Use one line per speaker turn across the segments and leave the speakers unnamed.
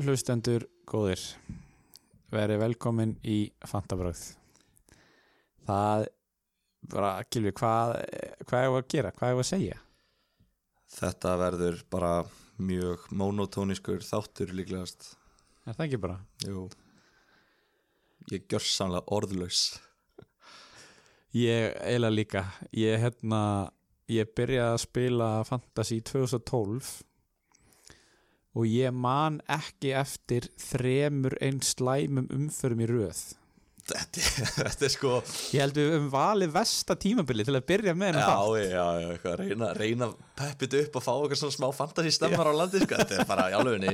Hlustendur góðir verið velkomin í Fantabröð Það bara, Gilvi, hvað hvað er að gera, hvað er að segja
Þetta verður bara mjög monotóniskur þáttur líklegast
Er það ekki bara?
Jú Ég gjör samlega orðlaus
Ég eila líka ég, hérna, ég byrjaði að spila Fantasy 2012 og ég man ekki eftir þremur einn slæmum umförum í röð
Þetta, þetta er sko
Ég held við um valið vesta tímabili til að byrja með hennar
Já, já, já, eitthvað, reyna, reyna peppið upp og fá eitthvað svona smá fantasy stemmar á landi sko. Þetta er bara í alvegunni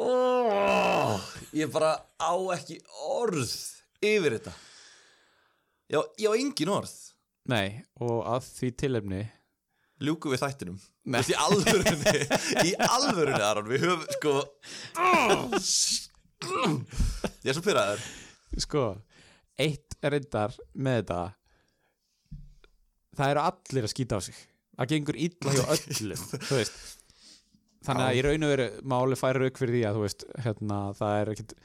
oh, Ég bara á ekki orð yfir þetta Já, ég á engin orð
Nei, og að því tilefni
Ljúku við þættinum Þú veist, Í alvörunni Í alvörunni, Aron Við höfum, sko Ég er svo pyrraður
sko, eitt reyndar með þetta það eru allir að skýta á sig það gengur illa hjá öllum þú veist þannig að í raun og veru máli færa rauk fyrir því að þú veist, hérna, það er ekkit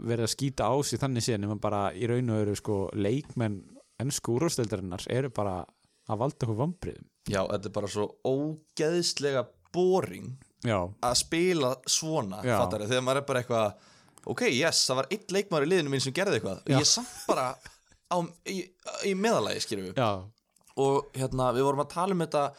verið að skýta á sig þannig síðan en bara í raun og veru sko leikmenn ennsku úrústeldarinnar eru bara að valda okkur vambriðum
Já, þetta er bara svo ógeðslega boring
já,
að spila svona
Já.
fattari, þegar maður er bara eitthvað ok, yes, það var einn leikmaður í liðinu mín sem gerði eitthvað og
Já.
ég samt bara á, í, í meðalagi, skiljum við
já,
og hérna, við vorum að tala um þetta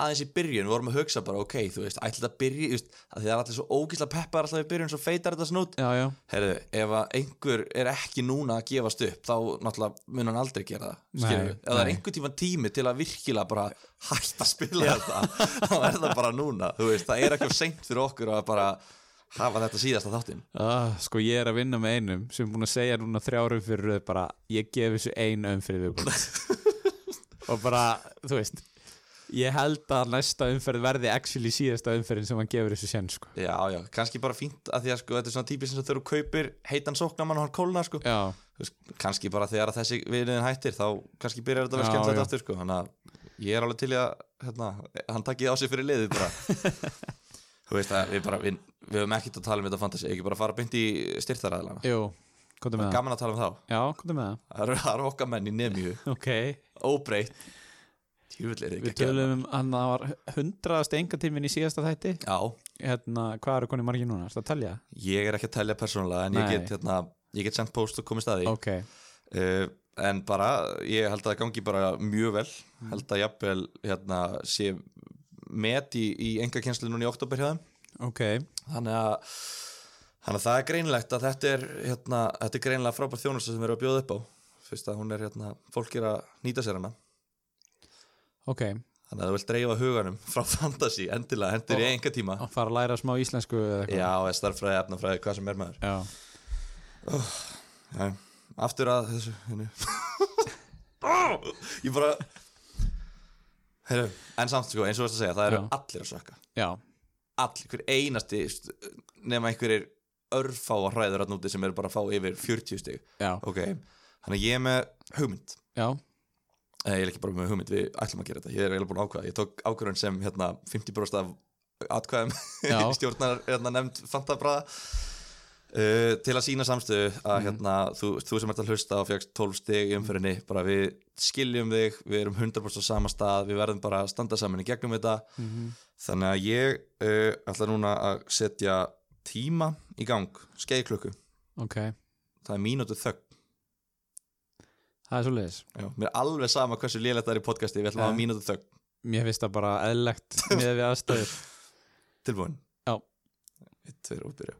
aðeins í byrjun, við vorum að hugsa bara ok, þú veist, ætla þetta byrja, þú veist að það er allir svo ógeðslega peppar alltaf í byrjun svo feitar þetta snút
já, já,
Herðu, ef að einhver er ekki núna að gefast upp þá náttúrulega mun hann aldrei gera það skilur
Nei,
við, ef það er
nei.
einhver tíma tími til að virkilega bara hætta að spila þetta þá er það bara núna, þú veist, það er ekki of seint fyrir okkur að bara hafa þetta síðasta þáttinn
Ah, sko ég er að vinna með einum sem er búin að segja núna þrjárum fyrir röð bara ég gef þessu einu umferð viðbúin og bara, þú veist ég held að næsta umferð verði actually síðasta umferðin sem hann gefur þessu sen sko.
Já, já, kannski bara fínt að því að sko, þetta er svona típis sem þegar þú kaupir heitan sóknamann og hann kólnar sko,
Já,
Þú veist, kannski bara þegar að þessi viðriðin hættir þá kannski byrjar þetta að vera
Já,
skemmtilegt
já.
aftur sko, þannig að ég er alveg til í að hérna, hann takkið á sig fyrir liðið bara þú veist að við bara við, við höfum ekkert að tala um þetta fantasy ekki bara fara beint í styrtaræðilana
jú, komdu með það
gaman að tala um þá,
Já, komdu með það
það eru- það eru okkar menn í nefnju
Ok,
óbreytt tjúvill er
við
ekki að
tölum um að það var hundraðast engatímin í síðasta þætti
já, hérna,
Hvað eru koni margir núna? Það telja?
ég er ekki að telja persónulega en ég
Nei.
get, hérna, ég get sendt post og komið staði
Ok,
uh, en bara ég held að það gangi bara mjög vel held að jafnvel hérna, sé met í, í enga kjenslu núna í oktober hjá þeim
ok
þannig að, þannig að það er greinlegt að þetta er, hérna, þetta er greinlega frábær þjónusta sem við erum að bjóða upp á fyrst að hún er, hérna, fólk er að nýta sér hana
Ok,
þannig að þú vilt dreifa huganum frá fantasy endilega, hendur
Og-
í enga tíma
að fara að læra smá íslensku eða eitthvað.
já, eða starffræði, efnafræði, hvað sem er maður
Já.
Nei, aftur að þessu henni. Ég bara Heru, En samt sko, eins og þú veist að segja Það eru
Já.
allir að sökka
Já,
Allir, hver einasti Nefna einhverjir örfáa hræður að núti Sem eru bara að fá yfir 40 stig
já,
Ok, þannig að ég er með hugmynd
já,
Eh, Ég er ekki bara með hugmynd, við ætlum að gera þetta Ég er eiginlega búin að ákvæða, ég tók ákvörðun sem hérna, 50% af atkvæðum
Já.
stjórnar hérna, nefnd fantabræða uh, til að sína samstöðu að hérna, þú, þú sem ert að hlusta og fjögst 12 stig í umferðinni bara við skiljum þig, við erum 100% á sama stað, við verðum bara að standa saman í gegnum þetta
Mhm,
þannig að ég uh, ætla núna að setja tíma í gang, skeiklöku
ok
það er mínútu þögn
Það er svoleiðis.
Já, mér er alveg sama hversu lélegt það er í podcasti, við ætlum að hafa
Já.
mínútu þögn
Mér finnst það bara eðlegt með við aðstöður.
Tilbúin
Já.
Eitt, tveir og byrja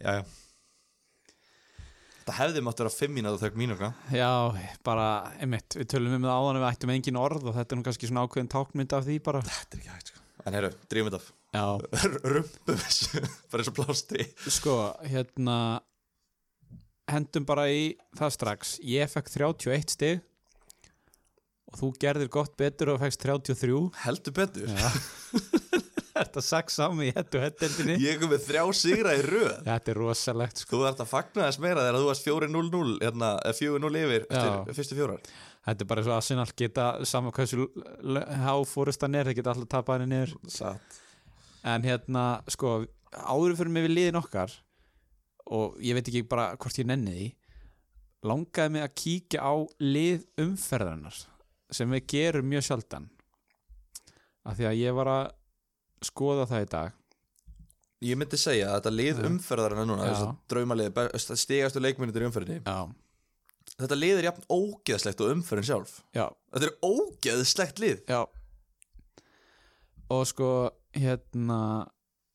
já, já. Þetta hefði mátt vera fimm mínútur þögn sko. mínúka
Já, bara, einmitt, við tölum um það áðan að við ættum engin orð og þetta er nú kannski svona ákveðin tákmynd af því bara
Þetta er ekki hægt sko En heyrðu, drífum þetta af
Já,
Rumpum þessu Bara eins og plásti
sko, hérna hendum bara í það strax ég fekk 31 stig og þú gerðir gott betur og fekkst 33
Heldur betur
Já. Þetta sex saman í hettu hettendinni
Ég kom með þrjá sigra í röð
Þetta er rosalegt sko.
Þú ert að fagna þess meira þegar þú varst 4-0-0 hérna, eh, 4-0 yfir
Já.
eftir fyrstu fjórar
Þetta er bara svo Arsenal geta saman hversu háfórustan er, þeir geta alltaf tapað henni niður
Satt
en hérna, sko, áður fyrir mig við liðin okkar og ég veit ekki bara hvort ég nenni því langaði mig að kíkja á lið umferðarnar sem við gerum mjög sjaldan af því að ég var að skoða það í dag
Ég myndi segja að þetta lið
Já.
umferðarinn núna
Já.
þess að draumalið stigastu leikminutir í umferðinni
Já,
Þetta lið er jafn ógeðslegt og umferðin sjálf
já,
Þetta er ógeðslegt lið
já og sko, hérna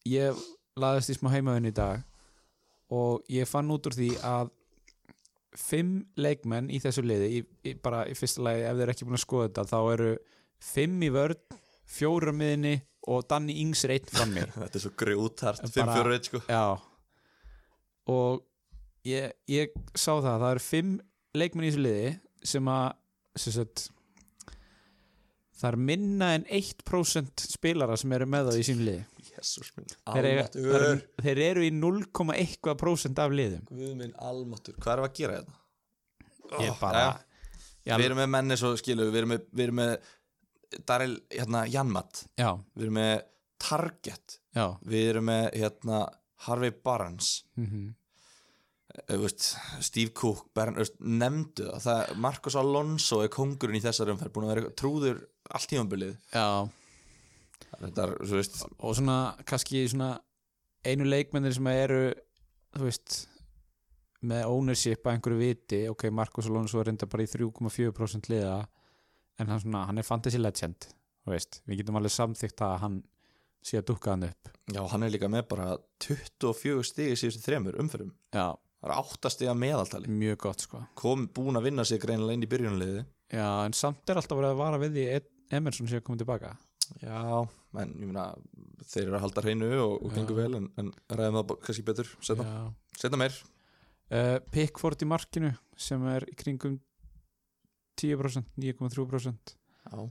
ég laðist í smá heimaðin í dag og ég fann út úr því að fimm leikmenn í þessu liði í, í, bara í fyrsta lagi ef þeir eru ekki búin að skoða þetta þá eru fimm í vörn fjóra miðinni og Danni Ings er einn frammi
Þetta er svo grjótart
Bara-
5-4-1 sko
já og ég, ég sá það að það eru fimm leikmenn í þessu liði sem að sem sagt, það er minna en 1% spilara sem eru með það í sínu liði
Jésús minn
þeir, eiga,
Almáttur
það eru- þeir eru í 0,1% af liðum
Guð minn almáttur Hvað erum við að gera þetta?
ég
Ó,
bara
jæja.
já,
Við erum með menni svo skilu Við erum með, við erum með Daril, hérna, Janmat
já,
Við erum með Target
já
Við erum með, hérna, Harvey Barnes
mm
Eh, þú veist, Steve Cook, Bern, þú veist, Nefndu það, það Marcos Alonso er kongurinn í þessar umferð Búin að vera trúður allt tímabilið
já
Þetta er, þú veist
og svona kannski svona einu leikmennir sem eru þú veist með ownership að einhverju viti ok, Marcos Alonso er reynda bara í 3,4% liða en hann, svona, hann er fantasy legend þú veist, við getum alveg samþygt að hann sé að dukka hann upp
Já, hann er líka með bara 24 stigi síðustu þremur umferðum
já,
Það er 8 stiga meðaltali
mjög gott sko
Kom búin að vinna sig greinilega inn í byrjunaliði
já, en samt er alltaf verið að vara við því Ed- Emerson sé að koma tilbaka
Já, en ég meina þeir eru að halda hreinu og, og gengur vel en, en ræðum það bara kannski betur setna,
já.
setna meir
Uh, Pickford í markinu sem er í kringum 10% 9,3%
Já.
uh,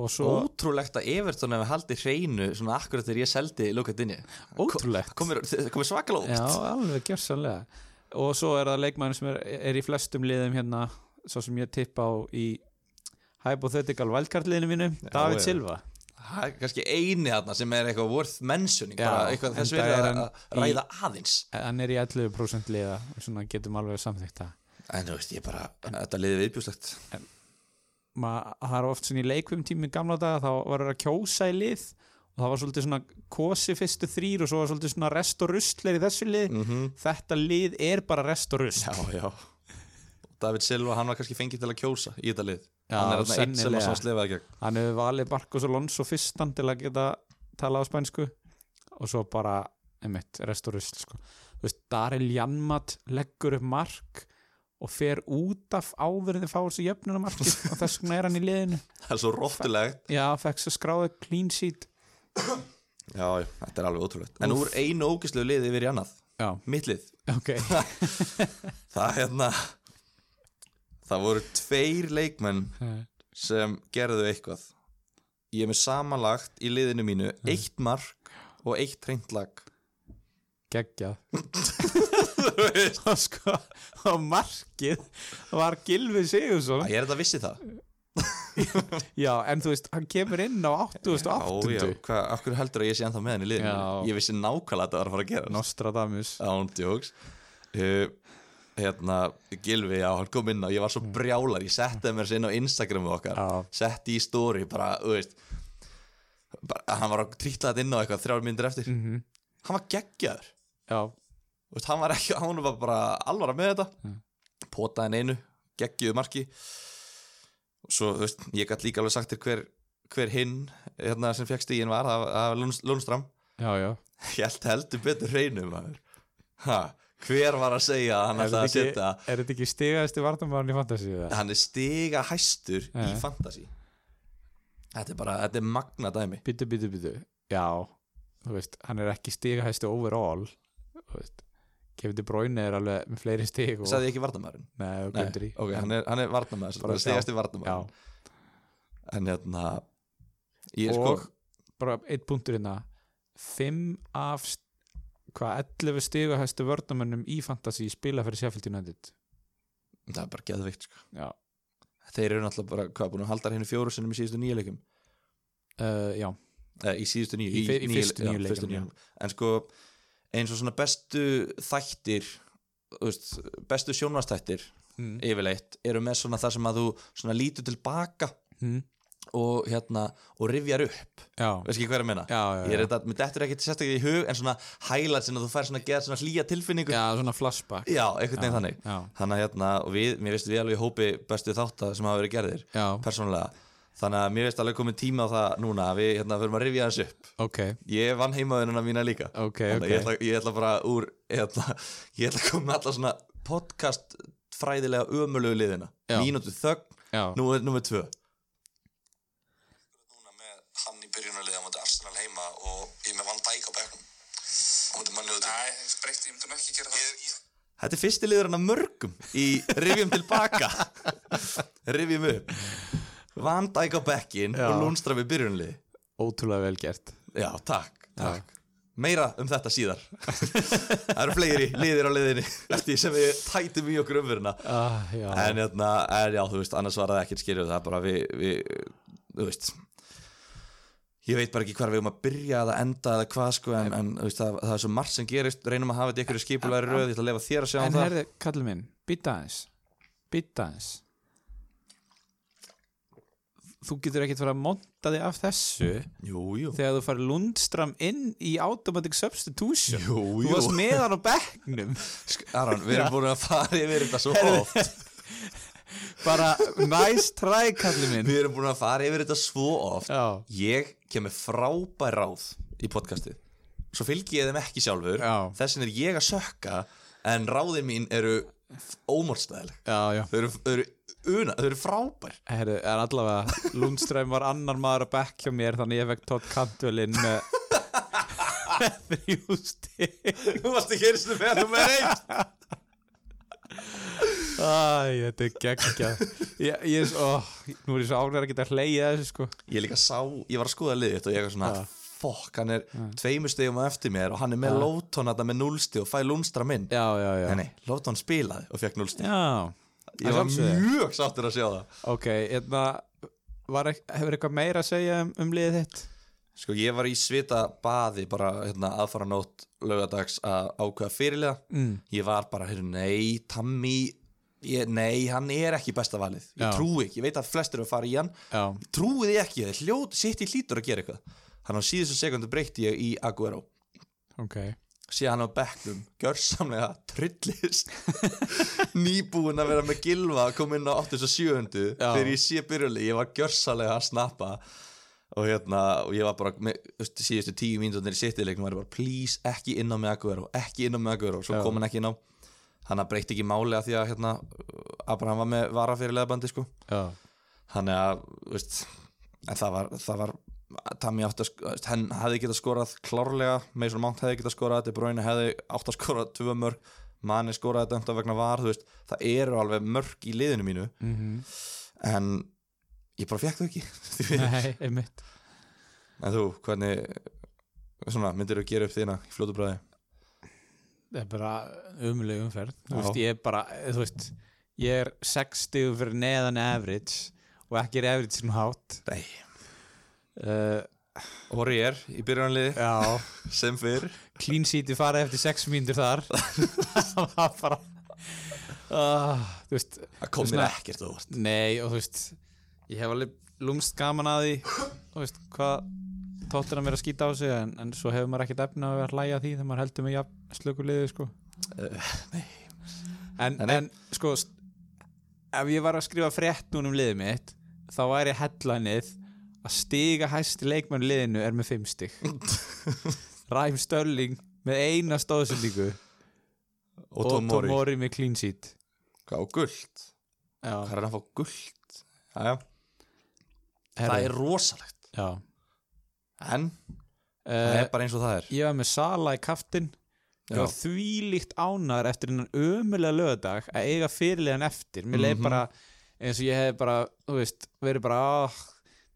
og svo
Ótrúlegt að Everton hefur haldið hreinu svona akkurat þegar ég seldi Luka Dinni
ótrúlegt
Komir, komir svakalega
Já,
óvart
alveg gjörsanlega og svo er það leikmæður sem er, er í flestum liðum hérna, svo sem ég tippa á í hypothetical wildcard liðinu mínu, David
já.
Silva
Það er kannski eini þarna sem er eitthvað worth mentioning
Já,
bara eitthvað þess
enda
verið
er
að,
hann
að
í-
ræða aðeins
hann er í 11% liða og svona getum alveg samþykkt það
En þú veist, ég bara, þetta liði viðbjúslegt
Ma, það er oft svona í leikvum tími gamla daga þá var það að kjósa í lið og það var svolítið svona kosi fyrstu þrýr og svo var svolítið svona rest og rustleir í þessu lið
Mhm.
þetta lið er bara rest og rust
Já, já David Silva, hann var kannski fengið til að kjósa í þetta lið
Já,
Hann er þarna einn sem að
sennilega.
svo slefaði gegn
hann hefur valið Marcos Alonso fyrstan til að geta tala á spænsku og svo bara, einmitt, rest og rusl sko. þú veist, Daril Janmat leggur upp mark og fer út af áverðin fá þessu jöfnunamarki og þess vegna er hann í liðinu
Það er svo róttulegt
já, fekk svo skráði clean sheet
Já, já, þetta er alveg ótrúlegt En úr einu ógislegu liði yfir í annað
já,
Mitt lið
ok
Það hérna Það voru tveir leikmenn sem gerðu eitthvað Ég er með samanlagt í liðinu mínu Eitt mark og eitt reynd lag
geggjað og sko og markið var Gilvi Sigursson
Æ, Ég er þetta vissi það
já, en þú veist, hann kemur inn á 88.
hvað, af hverju heldur að ég sé ennþá með henni í liðinu
Já.
Ég vissi nákvæmlega að þetta var að fara að gera
Nostradamus
ándjóks uh, hérna, Gilvi, já, hann kom inn og ég var svo brjálar, ég setti mér sér inn á Instagramu okkar,
Já.
setti í story bara, þú veist bara, hann var að trýtla þetta inn á eitthvað þrjár myndir eftir hann var geggjaður
Mhm. já,
Þú veist, hann var ekki, hann var bara alvara með þetta
Mm.
potaði hann einu, geggjuðu marki og svo, þú veist, ég gætt líka alveg sagt þér hver, hver hinn hérna sem fekk stígin var, það var- það var Lundström
já, já
ég held heldur betur reynum maður ha, hver var að segja að hann
Er
ætlaði
þetta
að setja
ekki, er þetta ekki stigaðasti vartamæðan í fantasy eða?
hann er stiga hæstur í
Já.
fantasy þetta er bara, þetta er magna dæmi
Bítu, bítu, bítu, já þú veist, hann er ekki stigahæsti overall þú veist Kevin De Bruyne er alveg með fleiri stig og...
sagði ég ekki vartamæðurinn
Nei, og
Nei,
glemdur í
ok, hann er, hann er vartamæður,
Bara-
bara stigasti
Já,
vartamæður en hérna ég er
og
sko,
bara eitt punktur hérna 5 af st- hvað 11 stigahæstu vörnumönnum í fantasy spila fyrir Sheffield United
það er bara geðvikt sko.
Já,
þeir eru náttúrulega bara, hvað, búin að halda henni fjóru sinnum í síðustu nýja leikum
uh, já,
eh, í síðustu nýju,
Í fe- í
níu-
fyrstu
já,
níu leikum,
fyrstu níu. en sko, eins og svona bestu þættir þú veist, bestu sjónvastættir
mm.
yfirleitt eru með svona það sem að þú svona lítur tilbaka
Mm.
og hérna, og rifjar upp
já,
veist ekki hvað er að menna?
já, já,
Ég er
já.
þetta, mér dettur ekkert sérstaklega í hug en svona highlights en að þú fær svona geða svona hlýja tilfinningu
já, svona flashback
Já, einhvern veginn þannig
Já,
Þannig að hérna, og við, mér veist við alveg í hópi bestu þáttar sem hafa verið gerðir,
já,
persónulega Þannig að mér veist alveg komið tíma á það núna að við hérna förum að rifja þessu upp
ok,
Ég vann heimaðunina mína líka
ok,
Þannig
ok
að ég ætla, ég ætla bara úr, ég ætla, ég ætla að koma með alla svona podcast fræðilega ömulegu liðina
Já.
Mínútu þögn,
já,
nú er nummer tvö Núna með hann í byrjunarliða á móti Arsenal heima og ég með Van Dijk á bekknum á móti manni úti
Nei, breytti, ég myndi nú ekki gera það ég, ég,
Þetta er fyrsti liður hann að mörgum í rifjum tilbaka rifjum upp Van Dijk á bekkin
Já.
og Lundström í byrjunarliði
ótrúlega vel gert
Já, takk, takk. Meira um þetta síðar Það eru fleiri liðir á liðinni eftir því sem við tætum í okkur umverðina
ah, Já,
en, hérna, en já, þú veist, annars var það ekkert skiljuð það er bara við, við, þú veist ég veit bara ekki hvar við um að byrja eða enda eða hvað sko en, en þú veist, það, það er svo margt sem gerist reynum að hafa þetta í einhverju skipulæri röð ég ætla að lefa þér að sjá um
En
það
herði, kallið minn, býta aðeins Býta aðeins Þú getur ekkert fara að monta þig af þessu
jú, jú,
þegar þú farið Lundstram inn í automatic substitution
jú,
Þú
jú.
varst með hann á bekknum
Sk- Aron, við erum búin að fara yfir þetta svo
Herðu.
oft
bara nice try kallið minn
við erum búin að fara yfir þetta svo oft
Já,
ég kemur frábær ráð í podcastið svo fylgi ég þeim ekki sjálfur
Já.
þess vegna er ég að sökka en ráðin mín eru ómálstæðileg
já, já
Þau eru, þau eru, una, þau eru frábær
Herru, en allavega, Lundström var annar maður að bekk hjá mér þannig ég vekk tótt kantvelin með þrjú stig
Þú varst ekki eins og með nummer einn
Æ, þetta er geggjað ég, ég, ó, Nú er ég svo ánægður að geta hleyja þessu sko
Ég líka sá, ég var að skoða liðið þetta og ég var svona Fokk, hann er tveimur stegum á eftir mér og hann er með Lóton þetta með núlstig og fæ Lundstram inn
Já, já, já
Nei, nei, Lóton spilaði og fekk núlstig
Já,
Ég var
sjálfsögðu.
mjög sáttur að sjá það
ok, hérna var, ek- Hefur eitthvað meira að segja um, um liðið þitt?
Sko, ég var í svita baði bara hérna, aðfara nótt laugadags að ákveða fyrirlega
Mm.
Ég var bara, heyrðu, nei, Tammy ég, Nei, hann er ekki besta valið Ég
Já.
trúi ekki, ég veit að flestir eru að fara í hann
Já,
trúið ég ekki, það er hljóð, sitt í hlítur að gera eitthvað þannig á síðustu sekundu breytti ég í Aguero
ok
síðan hann á bekknum, gjörsamlega trillist nýbúin að vera með gilva að koma inn á 87.
Já.
þegar ég sé byrjuli ég var gjörsamlega að snappa og hérna, og ég var bara með, þú veist, síðustu tíu mínútur í sittileiknum var ég bara, please, ekki inn á með Aguero ekki inn á með Aguero, svo
Já.
kom hann ekki inn á hann breytti ekki máli að því að hérna, Abraham var með vara fyrir leðabandi sko
Já,
þannig að þú veist, en það var, það var Tami átti að sk- þú veist, hann hefði getað skorað klárlega, Mason Mount hefði getað skorað De Bruyne hefði átt að skorað tvö mörg manni skoraði þetta enda vegna var þú veist, það eru alveg mörg í liðinu mínu
mm
en ég bara fekk þau ekki Því miður.
nei, einmitt
en þú, hvernig svona, myndir þú gera upp þína í fljótu bræði
Það er bara umlega umferð Þú
Já.
veist, ég er bara, eh, þú veist Ég er 60 fyrir neðan average og ekki er average sem hátt
Nei.
uh,
og ég er í byrjanliði
Já,
sem fyrr
clean sheet í farið eftir 6 mínútur þar Það var bara uh, Þú veist,
það kom mér ekkert á óvart
Nei, og þú veist ég hef alveg lúmst gaman að því þú veist, hvað tóttir að vera að skýta á sig en, en svo hefur maður ekkert efna að vera að hlæja að því þegar maður heldur með jafn slökuliði sko.
Eh,
en,
Nei,
en,
nei.
sko st- ef ég var að skrifa frétt núna um liðið mitt þá væri hellanið að stiga hæsti leikmann í liðinu er með 5 stig Ræm Störling með eina stóðsendingu
og Tomori
Tomori með clean sheet
Hvað á gullt?
já,
Hvað er hann að fá gullt? Jæja, það
herri,
er rosalegt
já.
En það
Uh,
er bara eins og það er
ég var með Sala í kaftin ég
Já.
var þvílíkt ánar eftir hennan ömulega lögadag að eiga fyrirlegan eftir mér leið
Mhm.
bara eins og ég hef bara, þú veist, verið bara ah,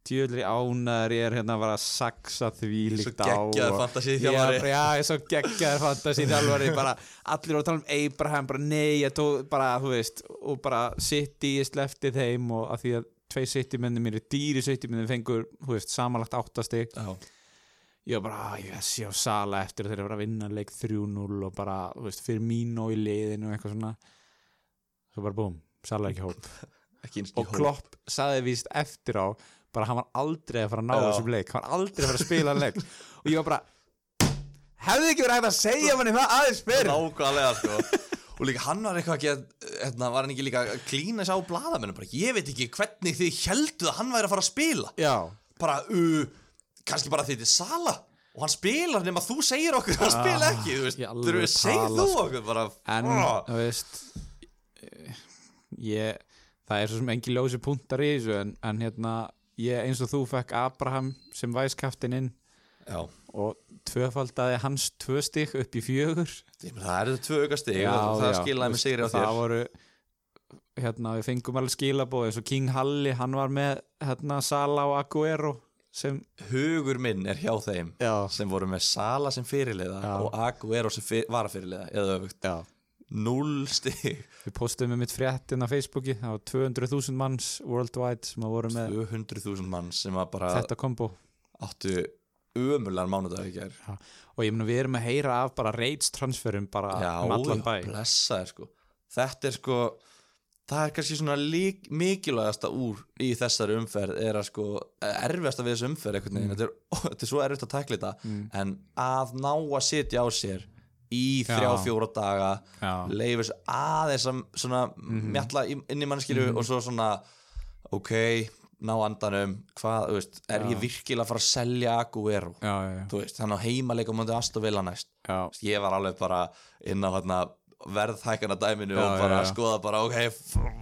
djöðlir ánar ég er hérna bara að saxa
Svo
þvílíkt á
geggjaður
og-
fantasíð
Já,
þjálfari
bara, já, ég er svo geggjaður fantasi þjálfari bara, allir voru að tala um Abraham bara nei, ég tók bara, þú veist og bara City, ég slefti þeim og að því að tvei City menni mér er dýri City menni fengur, þú veist, samanlagt áttastig
Já,
ég var bara, ah, ég sé á sala eftir og þeir eru bara að vinna leik 3-0 og bara, þú veist, fyrir mín og í liðinu og eitthvað svona svo bara búm, sala ekki í hóp
ekki eins
og Klopp saði víst eftir á bara hann var aldrei að fara að ná
Já.
þessum leik hann var aldrei að fara að spila hann leik og ég var bara hefði ekki verið hægt að segja manni það aðeins fyrr
Nákvæmlega sko Og líka hann var eitthvað ekki að, hérna, var hann ekki líka að klína sér á bladamennum bara, ég veit ekki hvernig þið helduð að hann væri að fara að spila
já,
bara, uh, kannski bara því þetta er Sala og hann spilar nema þú segir okkur að hann spila ekki, þú veist,
í alvöru
þú veist, segir
tala,
þú
sko.
okkur bara,
en
oh,
þú veist eh, ég það er svo sem engi ljósi puntar í þessu en, en hérna, ég eins og þú fekk Abraham sem væskaftin inn
já,
og tvöfaldaði hans tvö stykk upp í fjögur
ég meina, það eru þetta tvö auka stig og það skilaði
veist,
með sigri á
það
þér
voru hérna við fengum alveg skilabóð eins og King Halli hann var með hérna Sala og Aguero sem
hugur minn er hjá þeim
já,
sem voru með Sala sem fyrirliða
Já.
og Aguero sem fyr, varafyrirliða eða öfugt,
já.
null stig
við postum með mitt fréttin á Facebooki það var 200.000 manns worldwide sem að voru með
200.000 mann sem að bara
þetta kombo
áttu ömulegan mánudag í gær
og ég meina við erum að heyra af bara raids transferum bara um allan bæ
blessaður sko þetta er sko það er kannski svona lík, mikilvægasta úr í þessari umferð er að sko erfiðasta við þessu umferð einhvern
Mm.
veginn, þetta, er, þetta er svo erfitt að tækla þetta en að ná að sitja á sér í
Já.
þrjá fjóra daga
Já. Mhm.
leifir svo aðeins að svona mjalla í- inn í mannskilu og svo svona ok, ná andanum hvað, þú veist, er ég virkilega að fara að selja Aguero,
já, já,
þú veist, hann á heimaleik á múndi Astovilla næst
já,
Þú veist, ég var alveg bara inn á hérna, verðhækana dæminu
Já,
og bara
já, já.
skoða bara ok,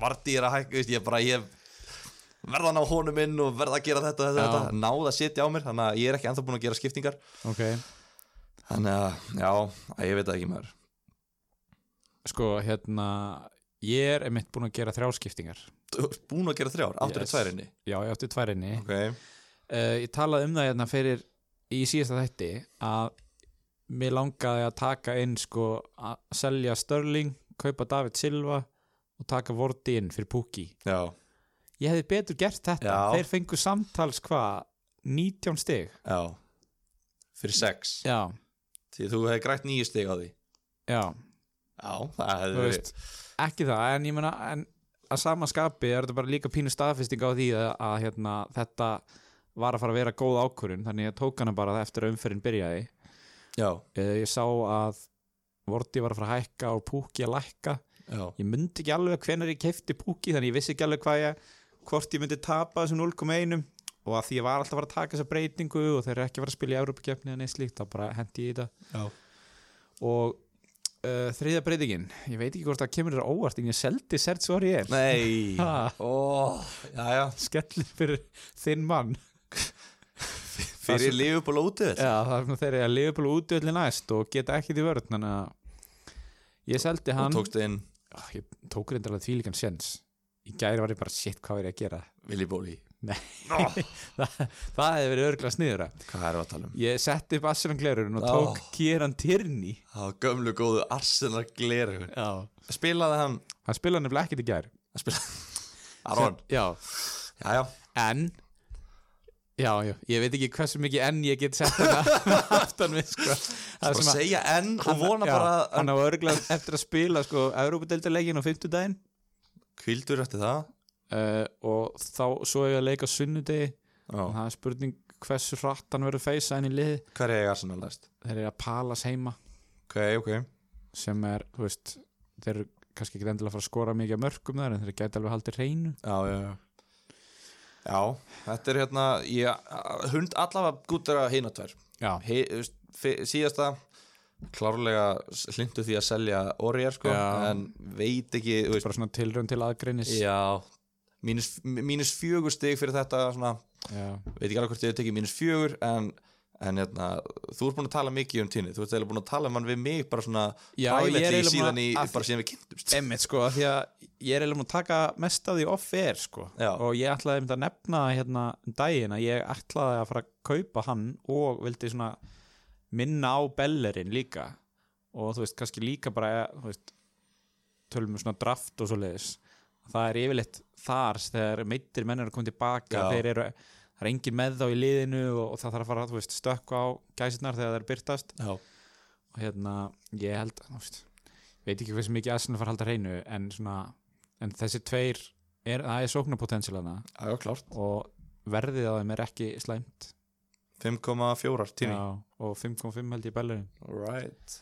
Marti er að hækka, þú veist, ég bara ég verða að ná honum inn og verða að gera þetta, þetta,
Já.
þetta náða að sitja á mér þannig að ég er ekki ennþá búin að gera skiptingar
ok
þannig að, já, að ég veit það ekki maður
sko hérna ég er einmitt búin að gera þrjáskiptingar
Þú ert búin að gera þrjár, áttur yes.
Yes.
tværinni
já, ég átti tværinni
ok,
uh, ég talaði um það hérna fyrir í síðasta þætti að mér langaði að taka inn sko að selja Störling kaupa David Silva og taka Vorti inn fyrir Pukki
já,
ég hefði betur gert þetta,
Já.
þeir fengu samtals hvað, 19 stig
já fyrir sex,
já,
því þú hefði grætt nýju stig á því
já,
já, það hefði
þú
verið
veist ekki það, en ég meina en að sama skapi er þetta bara líka pínu staðfesting á því að, að hérna, þetta var að fara að vera góð ákvörun þannig að ég tók hana bara eftir að umferðin byrjaði
já,
Eh, ég sá að Vorti var að fara að hækka og Púki að lækka
já,
ég myndi ekki alveg hvenær ég keipti Púki þannig ég vissi ekki alveg hvað ég hvort ég myndi tapa þessum 0,1 og að því ég var alltaf að fara að taka þessa breytingu og þeir eru ekki að fara að spila í Európa-kefni eða neitt slíkt, þá bara hendi ég í þetta
já.
og uh, þriðja breytingin ég veit ekki hvort það kemur þér á óvart en ég seldi Serts Vori er
nei,
Ha.
ó, já, já
skellir fyrir þinn mann
fyrir líf upp og lótið
Já, það er nú þeir eru að lifa bara út öll næst og geta ekkit í vörð þannig að ég seldi hann
og tókst inn
Ah, ég tók reyndar alveg því líkan sjens í gæri var ég bara shit hvað er ég að gera
Willy Bóli
Nei.
Nó,
Þa, það hefði verið örgla sniðra
Hvað erum við að tala um?
ég setti upp Arsenal glerun og
Ó.
tók Kieran Tierney
Á gömlu góðu Arsenal gleru
já.
Spilaði hann
hann spilaði nefnilega ekkit í gæri
Aron
já.
Jæja
en já, já, ég veit ekki hversu mikið enn ég get sett hana aftan við sko. Það
Bara
sem að-
segja enn og vona
já,
bara að
hann á örgla eftir að spila sko, Európa-deltalegin á fimmtudaginn
Kvildur eftir það
uh, og þá svo hefur ég að leika á sunnudegi og
Já
það er spurning hversu hratt hann verður feysa inn í lið
Hvað er ég Arsenal næst?
þeir eru að palas heima
Ok, ok
sem er, þú veist þeir eru kannski ekki endilega að fara að skora mikið af mörgum þar en þeir gæti alveg haldið hreinu
Já, já, já Já, þetta er hérna ég, Hund allavega gútur að hina tvær
já,
He- þú veist, fi- Síðasta klárlega hlindu því að selja Orier sko,
Já.
en veit ekki þú veist,
bara svona tilraun til aðgreinis
já, mínus, mínus fjögur stig fyrir þetta svona,
já.
veit ekki alveg hvort ég tekið mínus fjögur en, en hérna, þú ert búin að tala mikið um tíni, þú ert eiginlega búin að tala um hann við mig bara svona
Já, ég er
privately
eiginlega
síðan í,
búin að-
bara síðan við kynntumst
Emmitt sko, af því að ég er eiginlega múin að taka mest af því off-air sko
Já.
og ég ætlaði einmitt að nefna hérna um daginn að ég ætlaði að fara að kaupa hann og vildi svona minna á bellerin líka og þú veist, kannski líka bara þú veist, tölum um svona draft og svo leiðis það er yfirleitt þar þegar meittir menn eru að koma tilbaka
Já.
þeir eru, það er engin með þá í liðinu og, og það þarf að fara, þú veist, stökka á gæsirnar þegar það er byrtast
Já,
og hérna ég held þú veist, veit ekki hversu mikið Arsenal fara að halda hreinu en svona en þessi tveir, er, það er sóknarpotensialana
já, klárt
og verðið á þeim er ekki slæmt
5,4 tíni
Já, og 5.5 held ég bellurinn
Right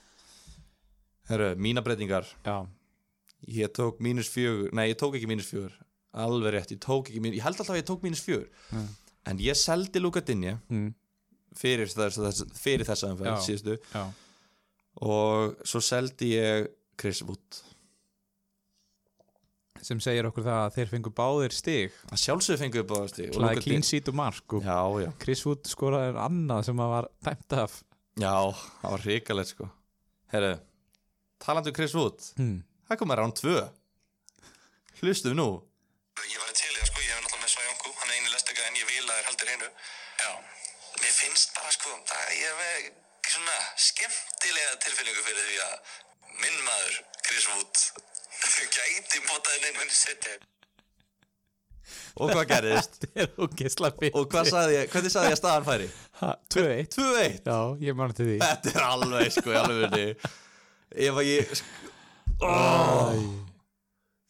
Herru, mína breytingar
já,
Ég tók mínus fjögur, nei ég tók ekki mínus fjögur Alveg rétt, ég tók ekki mínus Ég held alltaf að ég tók mínus fjögur
Mm.
En ég seldi Luka Dinje
mm,
fyrir, þess, þess, fyrir þessa umferð
Já.
síðustu
já.
Og svo seldi ég Chris Wood
sem segir okkur það að þeir fengu báðir stig
Það sjálfsögðu fengið upp á þessi
það er clean sheet og mark og
Já, já,
Chris Wood skoraði en annað sem að var dæmt af
já, það var hrikalegt sko Herru, talandi um Chris Wood
hmm.
Það kom að rán tvö Hlustum nú
Ég væri til í það sko, ég hef náttúrulega með Svajongu, hann er eini lestika en ég vil að þér haldir hreinu. Já. Mér finnst bara sko, það, ég hef með svona skemmtilega tilfinningu fyrir því að minn maður, Chris Wood, gæti mótaðin einu minni setja.
Og hvað gerðist?
er ógeðslega fyrir
Og hvað sagði ég, hvernig sagði ég að staðan færi?
2-1
2-1
já, ég man til því
Þetta er alveg sko í alvegni Ef að ég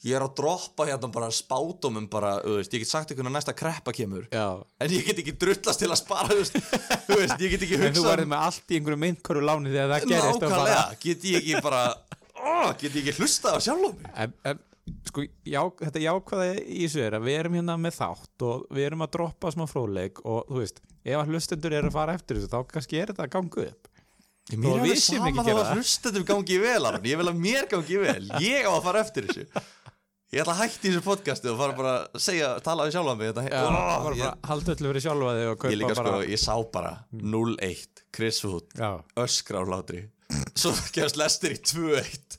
Ég er að droppa hérna bara spátumum bara, þú veist, ég get sagt ykkur að næsta kreppa kemur
já,
En ég get ekki drullast til að spara, þú veist, þú veist ég get ekki
En þú
hugsað
verður með allt í einhverju myndkóru láni þegar það gerist og bara
Nákvæmlega, get ég ekki bara, ó, get ég ekki hlustað á sjálfum mig
en, en sko, já, þetta jákvæða í þessu er að við erum hérna með þátt og við erum að droppa smá fróleik og þú veist, ef að hlustendur eru að fara eftir þessu þá kannski er þetta að ganga upp
Mér
Og við
er alveg
séum
sama
ekki
þá
gera
að
það.
hlustendur gangi vel, Aron Ég vil að mér gangi vel, ég á að fara eftir þessu Ég ætla að hætti þessu podcasti og fara bara að segja, tala við sjálfum mig þetta,
Já,
Ó,
bara,
ég-
bara halda öllu fyrir sjálfa þig og kaupa
Ég líka
bara Mm.
sko, ég sá bara 0-1, Chris Wood
Já,
öskra á hlátri svo gefst lestir í 2-1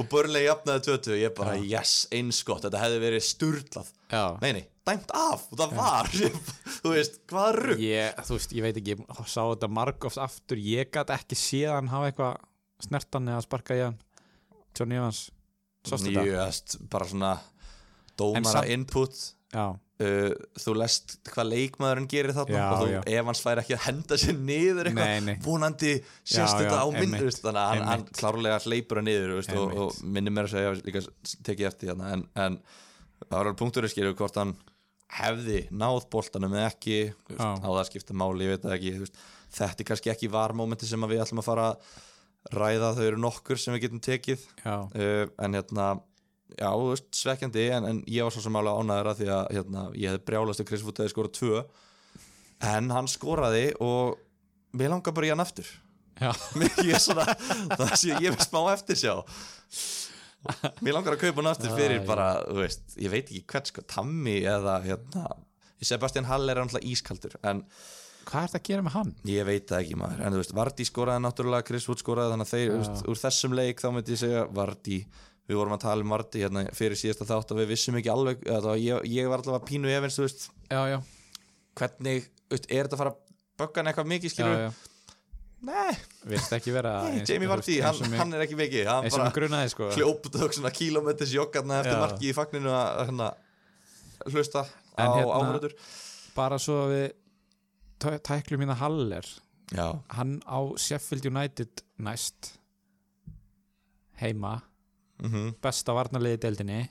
og Börnlega jafnaði 2-2 ég bara, yes, eins gott, þetta hefði verið sturlað
já
nei, nei, dæmt af, og það var þú veist, hvað rugg
ég, Þú veist, ég veit ekki, ég sá þetta margofs aftur ég gat ekki séð hann hafa eitthvað snertan eða sparka í hann John Evans, sástu þetta?
nýjast, bara svona
En
dómara
samt-
input
Já,
uh, þú lest hvað leikmaðurinn gerir þarna
Já,
og þú,
já.
ef hans fær ekki að henda sér niður
Nei,
eitthvað,
nei.
vonandi sést
Já, já,
þetta á mynd,
einmitt,
þú veist, þannig að hann, hann
einmitt.
klárlega hleypur hann niður þú veist, og,
Einmitt.
og minnir mér að segja líka s- tekið eftir hérna en, en það var alveg punktur að skilja hvort hann hefði náð boltanum eða ekki þú veist,
Já.
á það skipta máli, ég veit það ekki þú veist, þetta er kannski ekki varmómenti sem að við ætlum að fara að ræða, þau eru nokkur sem við getum tekið
já,
uh, en hérna já, þú veist, svekkjandi en, en ég var svo sem alveg ánæður að því að hérna, ég hefði brjálast að Chris Wood hefði skorað tvö en hann skoraði og mér langar bara í hann aftur
já
ég er svona, það sé ég með smá eftir sjá mér langar að kaupa hann aftur
Ah,
fyrir
já.
bara, þú veist, ég veit ekki hvern sko Tammy eða hérna Sebastian Hall er alltaf ískaldur en
Hvað ert að gera með hann?
ég veit það ekki maður, en þú veist, Vardí skoraði náttúrulega, Chris Wood skoraði, þannig að þeir þú veist, úr þessum leik þá myndi ég segja Vardí við vorum að tala um Vardí hérna fyrir síðasta þátt að við vissum ekki alveg, eða, þá- ég, ég var allavega pínu efins, þú veist,
Já, já,
hvernig þú veist, er þetta að fara að bögga hann eitthvað mikið
já,
skilur,
já.
nei,
Virðist ekki vera
nei,
eins-
Jamie
þú veist,
Vardí
eins
hann,
og mig-
hann er ekki mikið, hann
eins og mig
bara
grunaði sko
hljópt og svona kílómetris joggarna eftir
Já.
marki í fagninu að hérna, hlusta á
En hérna-
áhverjur
bara svo að við tæ- tæklum hérna Haller
já,
hann á Sheffield United næst heima
mm
besta varnarliði í deildinni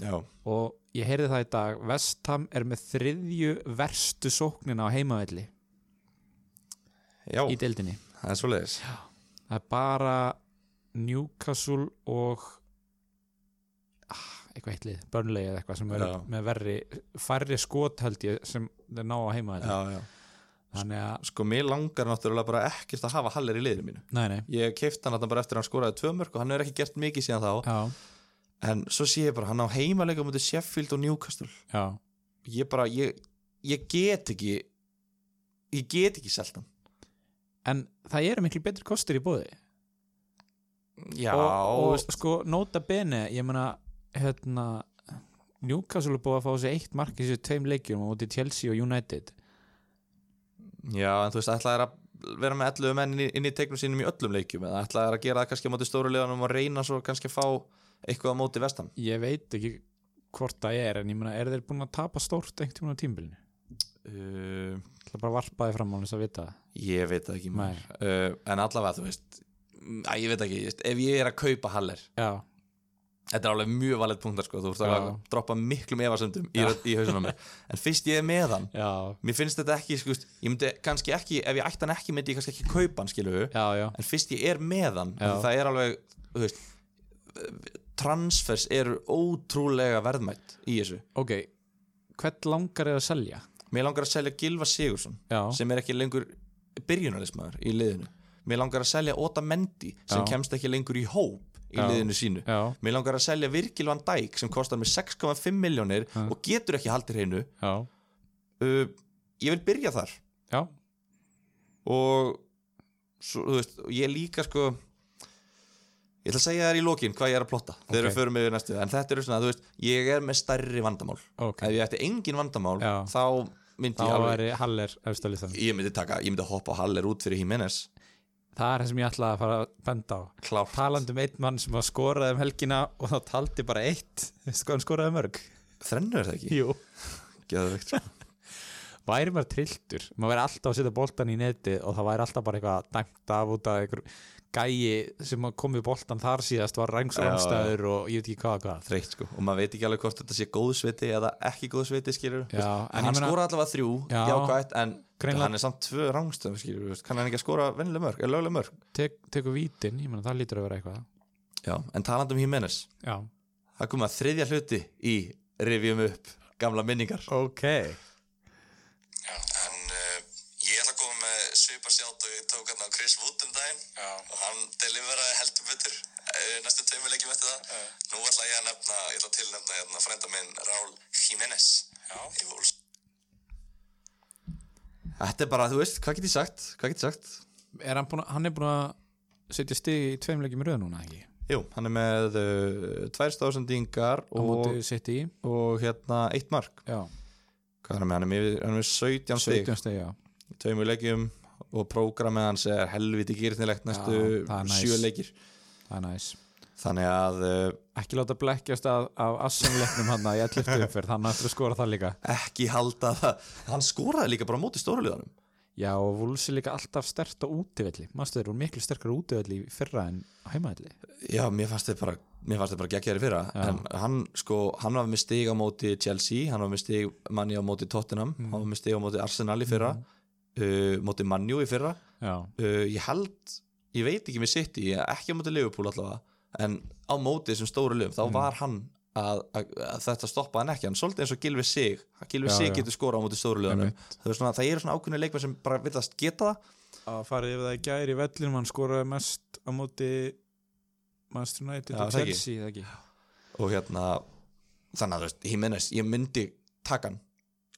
já,
og ég heyrði það í dag Vestham er með þriðju verstu sóknina á heimavelli
já,
í deildinni
það er svoleiðis
það er bara Newcastle og ah, eitthvað eitt lið, Burnley eða eitthvað sem er
Já.
með verri færri skot held ég sem þeir ná á heimavelli
já, já,
þannig að,
sko mér langar náttúrulega bara ekkert að hafa Haller í liðinu mínu
nei, nei
ég keipti hann þarna bara eftir að hann skoraði tvö mörg og hann hefur ekki gert mikið síðan þá
já,
en svo sé ég bara hann á heimaleika mútið Sheffield og Newcastle
já,
ég bara, ég, ég get ekki ég get ekki selt hann
en það eru miklu betri kostur í bóði
já,
og, og
veist,
sko, nota bene ég meina, hérna Newcastle er búið að fá sér eitt mark í þessu tveim leikjum á móti Chelsea og United
já, en þú veist, ætlaði þær að vera með 11 menn inn í, inn í teiknum sínum í öllum leikjum eða ætlaði þær að gera það kannski á móti stóru liðanum og reyna svo kannski að fá eitthvað á móti vestam
ég veit ekki hvort það er en ég meina, er þeir búin að tapa stórt einhvern tímann á tímbilinu?
uh,
Það er bara varpaði fram á hans að vita það.
ég veit það ekki
Nei.
maður. uh, en allavega, þú veist Æ, ég veit ekki, ég veist, ef ég er að kaupa Haller
já,
Þetta er alveg mjög valið punktar sko, þú ert
Já.
alveg að droppa miklum efasöndum í, rödd- í hausunum mér En fyrst ég er með hann,
já,
mér finnst þetta ekki, sko, veist, ég myndi kannski ekki, ef ég ætti hann ekki myndi ég kannski ekki kaupa hann, skilu
já, já
En fyrst ég er með hann,
Já.
af því það er alveg, þú veist, transfers eru ótrúlega verðmætt í þessu
ok, hvern langar er að selja?
Mér langar að selja Gilva Sigursson,
já,
sem er ekki lengur byrjunalismæður í liðinu Mér langar að selja Óta Mendi, sem
Já.
kemst ekki lengur í hóp í
Já.
liðinu sínu
já,
Mér langar að selja Virkil van Dijk sem kostar mig 6,5 miljónir
Mm.
og getur ekki haldið hreinu
já,
uh, Ég vil byrja þar
já
og svo, þú veist, og ég líka sko ég ætla að segja þér í lokin hvað ég er að plotta þegar
Ok.
við förum yfir næstu en þetta eru svona, þú veist, ég er með stærri vandamál
ok,
ef ég ætti engin vandamál
Já.
þá myndi
þá
ég alveg
væri Haller eftir að lýsa
ég myndi taka, ég myndi hoppa á Haller út fyrir Jimenez
það er það sem ég ætlaði að fara að benda á
klárt
talandi um einn mann sem að skoraði um helgina og þá taldi bara eitt veistu hvað hann skoraði mörg?
þrennu er það ekki,
Jú.
geðveikt sko.
væri maður trilltur, maður væri alltaf að setja boltan í neti og það væri alltaf bara eitthvað dæmt af út af einhver gæi sem kom við boltan þar síðast var
Já, já.
rængsrannstæður og ég veit ekki hvað og hvað
þreytt sko, og maður veit ekki alveg hvort þetta sé góðsviti eða ekki góðsviti skilur
Já, en
en
ég
hann
meina-
skora allavega þrjú,
Já.
jákvæmt en
Greinlega-
hann er samt tvö rángstöðum skilur við, kann hann ekki að skora vennileg mörg, er lögleg mörg
Tek, tekur vítin, ég meina það lítur að vera eitthvað
já, en talandi um Jimenez,
já,
það kom að þriðja hluti í rivjum upp gamla minningar
ok
Já. En uh, ég ætla að koma með svipar sjátt og ég tók hann á Chris Wood um daginn Já. og hann deliveraði heldur betur uh, næstu tveimur leikjum eftir það. Nú ætla ég að nefna, ég ætla að tilnefna hérna frænda minn Raúl Jiménez Já. í Wolves.
þetta er bara, þú veist, hvað get ég sagt hvað get ég sagt,
er hann, búin, að- hann er búin að setja stig í tveim leikjum í röð núna ekki
jú, hann er með uh, tvær stásendingar
á
og,
móti sitt í
og hérna eitt mark
já,
hvað er hann með, hann er með, hann er með 17 stig
17 stig já.
í tveimur leikjum og prógramið hans er helviti gýrnilegt næstu
Já, það er næs.
sjö leikir
það er næs
þannig að uh,
ekki láta blekkjast af, af assunleiknum hann að ég ætla eftir umferð, hann ætla að skora það líka
ekki halda það hann skoraði líka bara á móti stóruliðanum
Já, og Wolves er líka alltaf stert á útivelli Mastu þeir, voru miklu sterkar á útivelli í fyrra en á heimavelli
já, mér fannst þið bara mér fannst þið bara geggjæri fyrra
Já.
en hann sko, hann var með stig á móti Chelsea hann var með stig manni á móti Tottenham hann var með stig á móti Arsenal í fyrra uh, móti Manju í fyrra
Já,
uh, ég held, ég veit ekki með City ég- ekki á móti Liverpool allavega en á móti þessum stóru liðum
Mm.
þá var hann að, að, að þetta stoppaði hann ekki hann svolítið eins og Gilvi Sig Gilvi
Já,
Sig
já.
getur skora á móti stóru liðanum
Einmitt.
það er svona, það eru svona ákveðni leikmenn sem bara virðast geta það
að farið yfir það í gæri í vellinum hann skoraði mest á móti Master United og
Já, það ekki.
Chelsea það ekki.
og hérna þannig að þú veist, Jimenez, ég myndi taka hann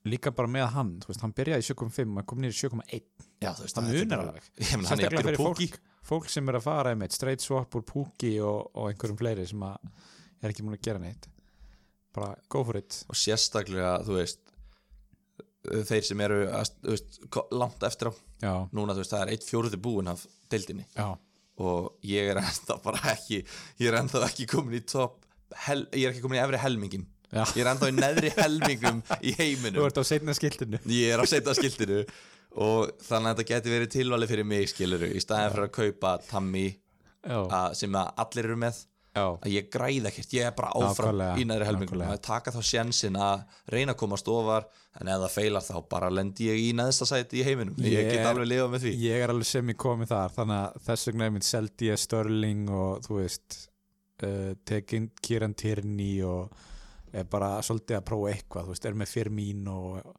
Líka bara með hann, þú veist, hann byrjaði í 7.5 hann kom niður í 7.1
já, þú veist,
Það
þetta er
munar
bara-
alveg.
ég meina, hann er að
Sérstaklega
byrja
fyrir
púki
fólk, fólk sem er að fara einmitt, straight swap úr púki og, og einhverjum fleiri sem að er ekki múin að gera neitt bara go for it
og sérstaklega, þú veist þeir sem eru að, þú veist, ko- langt eftir á
Já,
núna, þú veist, það er eitt fjóruði búin af deildinni
já,
og ég er ennþá bara ekki ég er ennþá ekki komin í topp hel, ég er ekki komin í efri helmingin
já.
ég er ennþá í neðri helmingum í
Þú
heiminum
ert á seinna skiltinu
ég er á setja skiltinu og þannig að þetta geti verið tilvalið fyrir mig skiluru, í staðin fyrir að kaupa Tammy
Já,
að, sem að allir eru með
já,
að ég græð ekkert, ég er bara áfram
Nákvæmlega,
í næri helmingum
nákvæmlega.
að taka þá sjensin að reyna að komast ofar en ef það feilar þá bara lendi ég í neðsta sæti í heiminum ég,
Ég
get
er-
alveg lifað með því
ég er alveg sem ég komið þar þannig að þess vegna er mitt seldi ég Störling og þú veist uh, tekin Kieran Tierney og er bara svolítið að prófa eitthvað þú veist, er með Firmino og,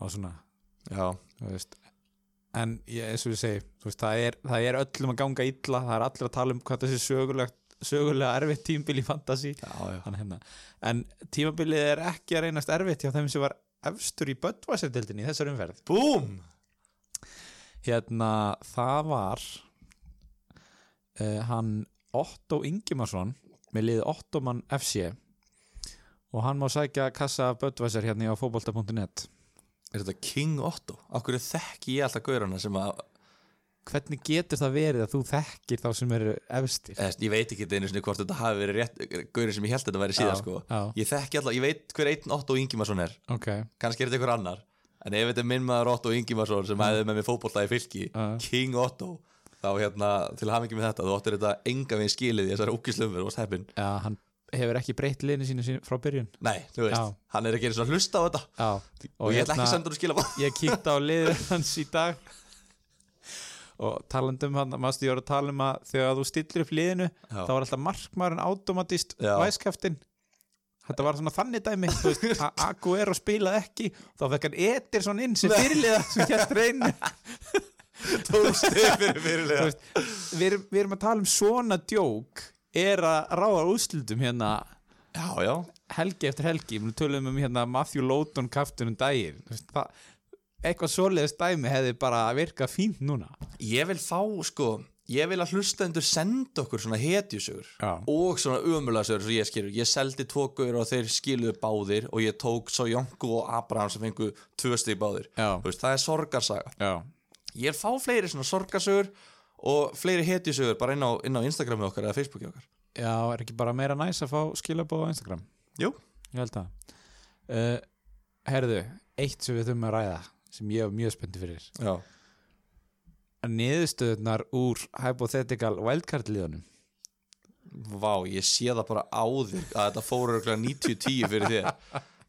og svona
Já,
þú veist, en ég, eins og ég segi þú veist, það, er, það er öllum að ganga illa það er allir að tala um hvað þessi sögulegt, sögulega erfitt tímabil í fantasi
já, já.
Þannig hérna. en tímabilið er ekki að reynast erfitt hjá þeim sem var efstur í Böttvæsardildinni í þessar umferð
Búm!
hérna það var uh, hann Otto Ingimarsson með liðið Ottoman FC og hann má sækja kassa Böttvæsar hérna á fótbolta.net
Er þetta King Otto? Akkur þekki ég alltaf gaurana sem að
hvernig getur það verið að þú þekkir þá sem eru efstir
eða, ég veit ekki einu sinni hvort þetta hafi verið rétt gaurin sem ég held þetta væri síðan
Já,
sko
já.
Ég þekki alltaf, ég veit hver einn Otto Ingimarsson er
ok,
kannski er þetta einhver annar en ef þetta er minn maður Otto Ingimarsson sem hefði með mér fótbolta í fylki
Já.
King Otto þá hérna, til hafingi með þetta þú áttir þetta enga veginn skilið í þessari ókislumur og steppin,
já, hann hefur ekki breytt liðinu sínu sín- frá byrjun
nei, þú veist
Já.
hann er ekki einu svona að hlusta á þetta og,
já, og
ég
hérna-
ætla ekki að senda hún skila bara
ég kíkti á liðið hans í dag og talandum hann mástu ég voru að tala um að þegar þú stillir upp liðinu
Já.
þá var alltaf markmaðurinn automatist
Já.
væskaftin þetta var svona þannig dæmi þú veist, að Agu er að spila ekki þá fekk hann etir svona inn sem fyrirliða sem hér reynu
tókstu fyrir fyrirlega
veist, við, erum- við erum að tala um svona djók er að ráða úrslutum hérna
já, já,
helgi eftir helgi, við tölum um hérna Matthew Lowton kaftunum daginn Þú veist, það- eitthvað svoleiðis dæmi hefði bara virkað fínt núna
ég vil fá sko ég vil að hlustendur senda okkur svona hetjusögur
Já.
og svona umulagsögur sem ég skilur, ég seldi tókur og þeir skiluðu báðir og ég tók svo Jónku og Abraham sem fengu tvö stig báðir,
Já.
Þú veist, það er sorgarsaga
Já,
ég vil fá fleiri svona sorgarsögur og fleiri hetjusögur bara inn á, inn á Instagrami okkar eða Facebooki okkar
er ekki bara meira næs að fá skilabóð á Instagram?
Jú.
Ég held það uh, Herðu, eitt sem við þurfum að ræða sem ég er mjög spenntið fyrir
Já.
Niðurstöðunar úr hypothetical wildcard liðunum
Vá, ég sé það bara á þig að þetta fóru örgulega 90-10 fyrir þér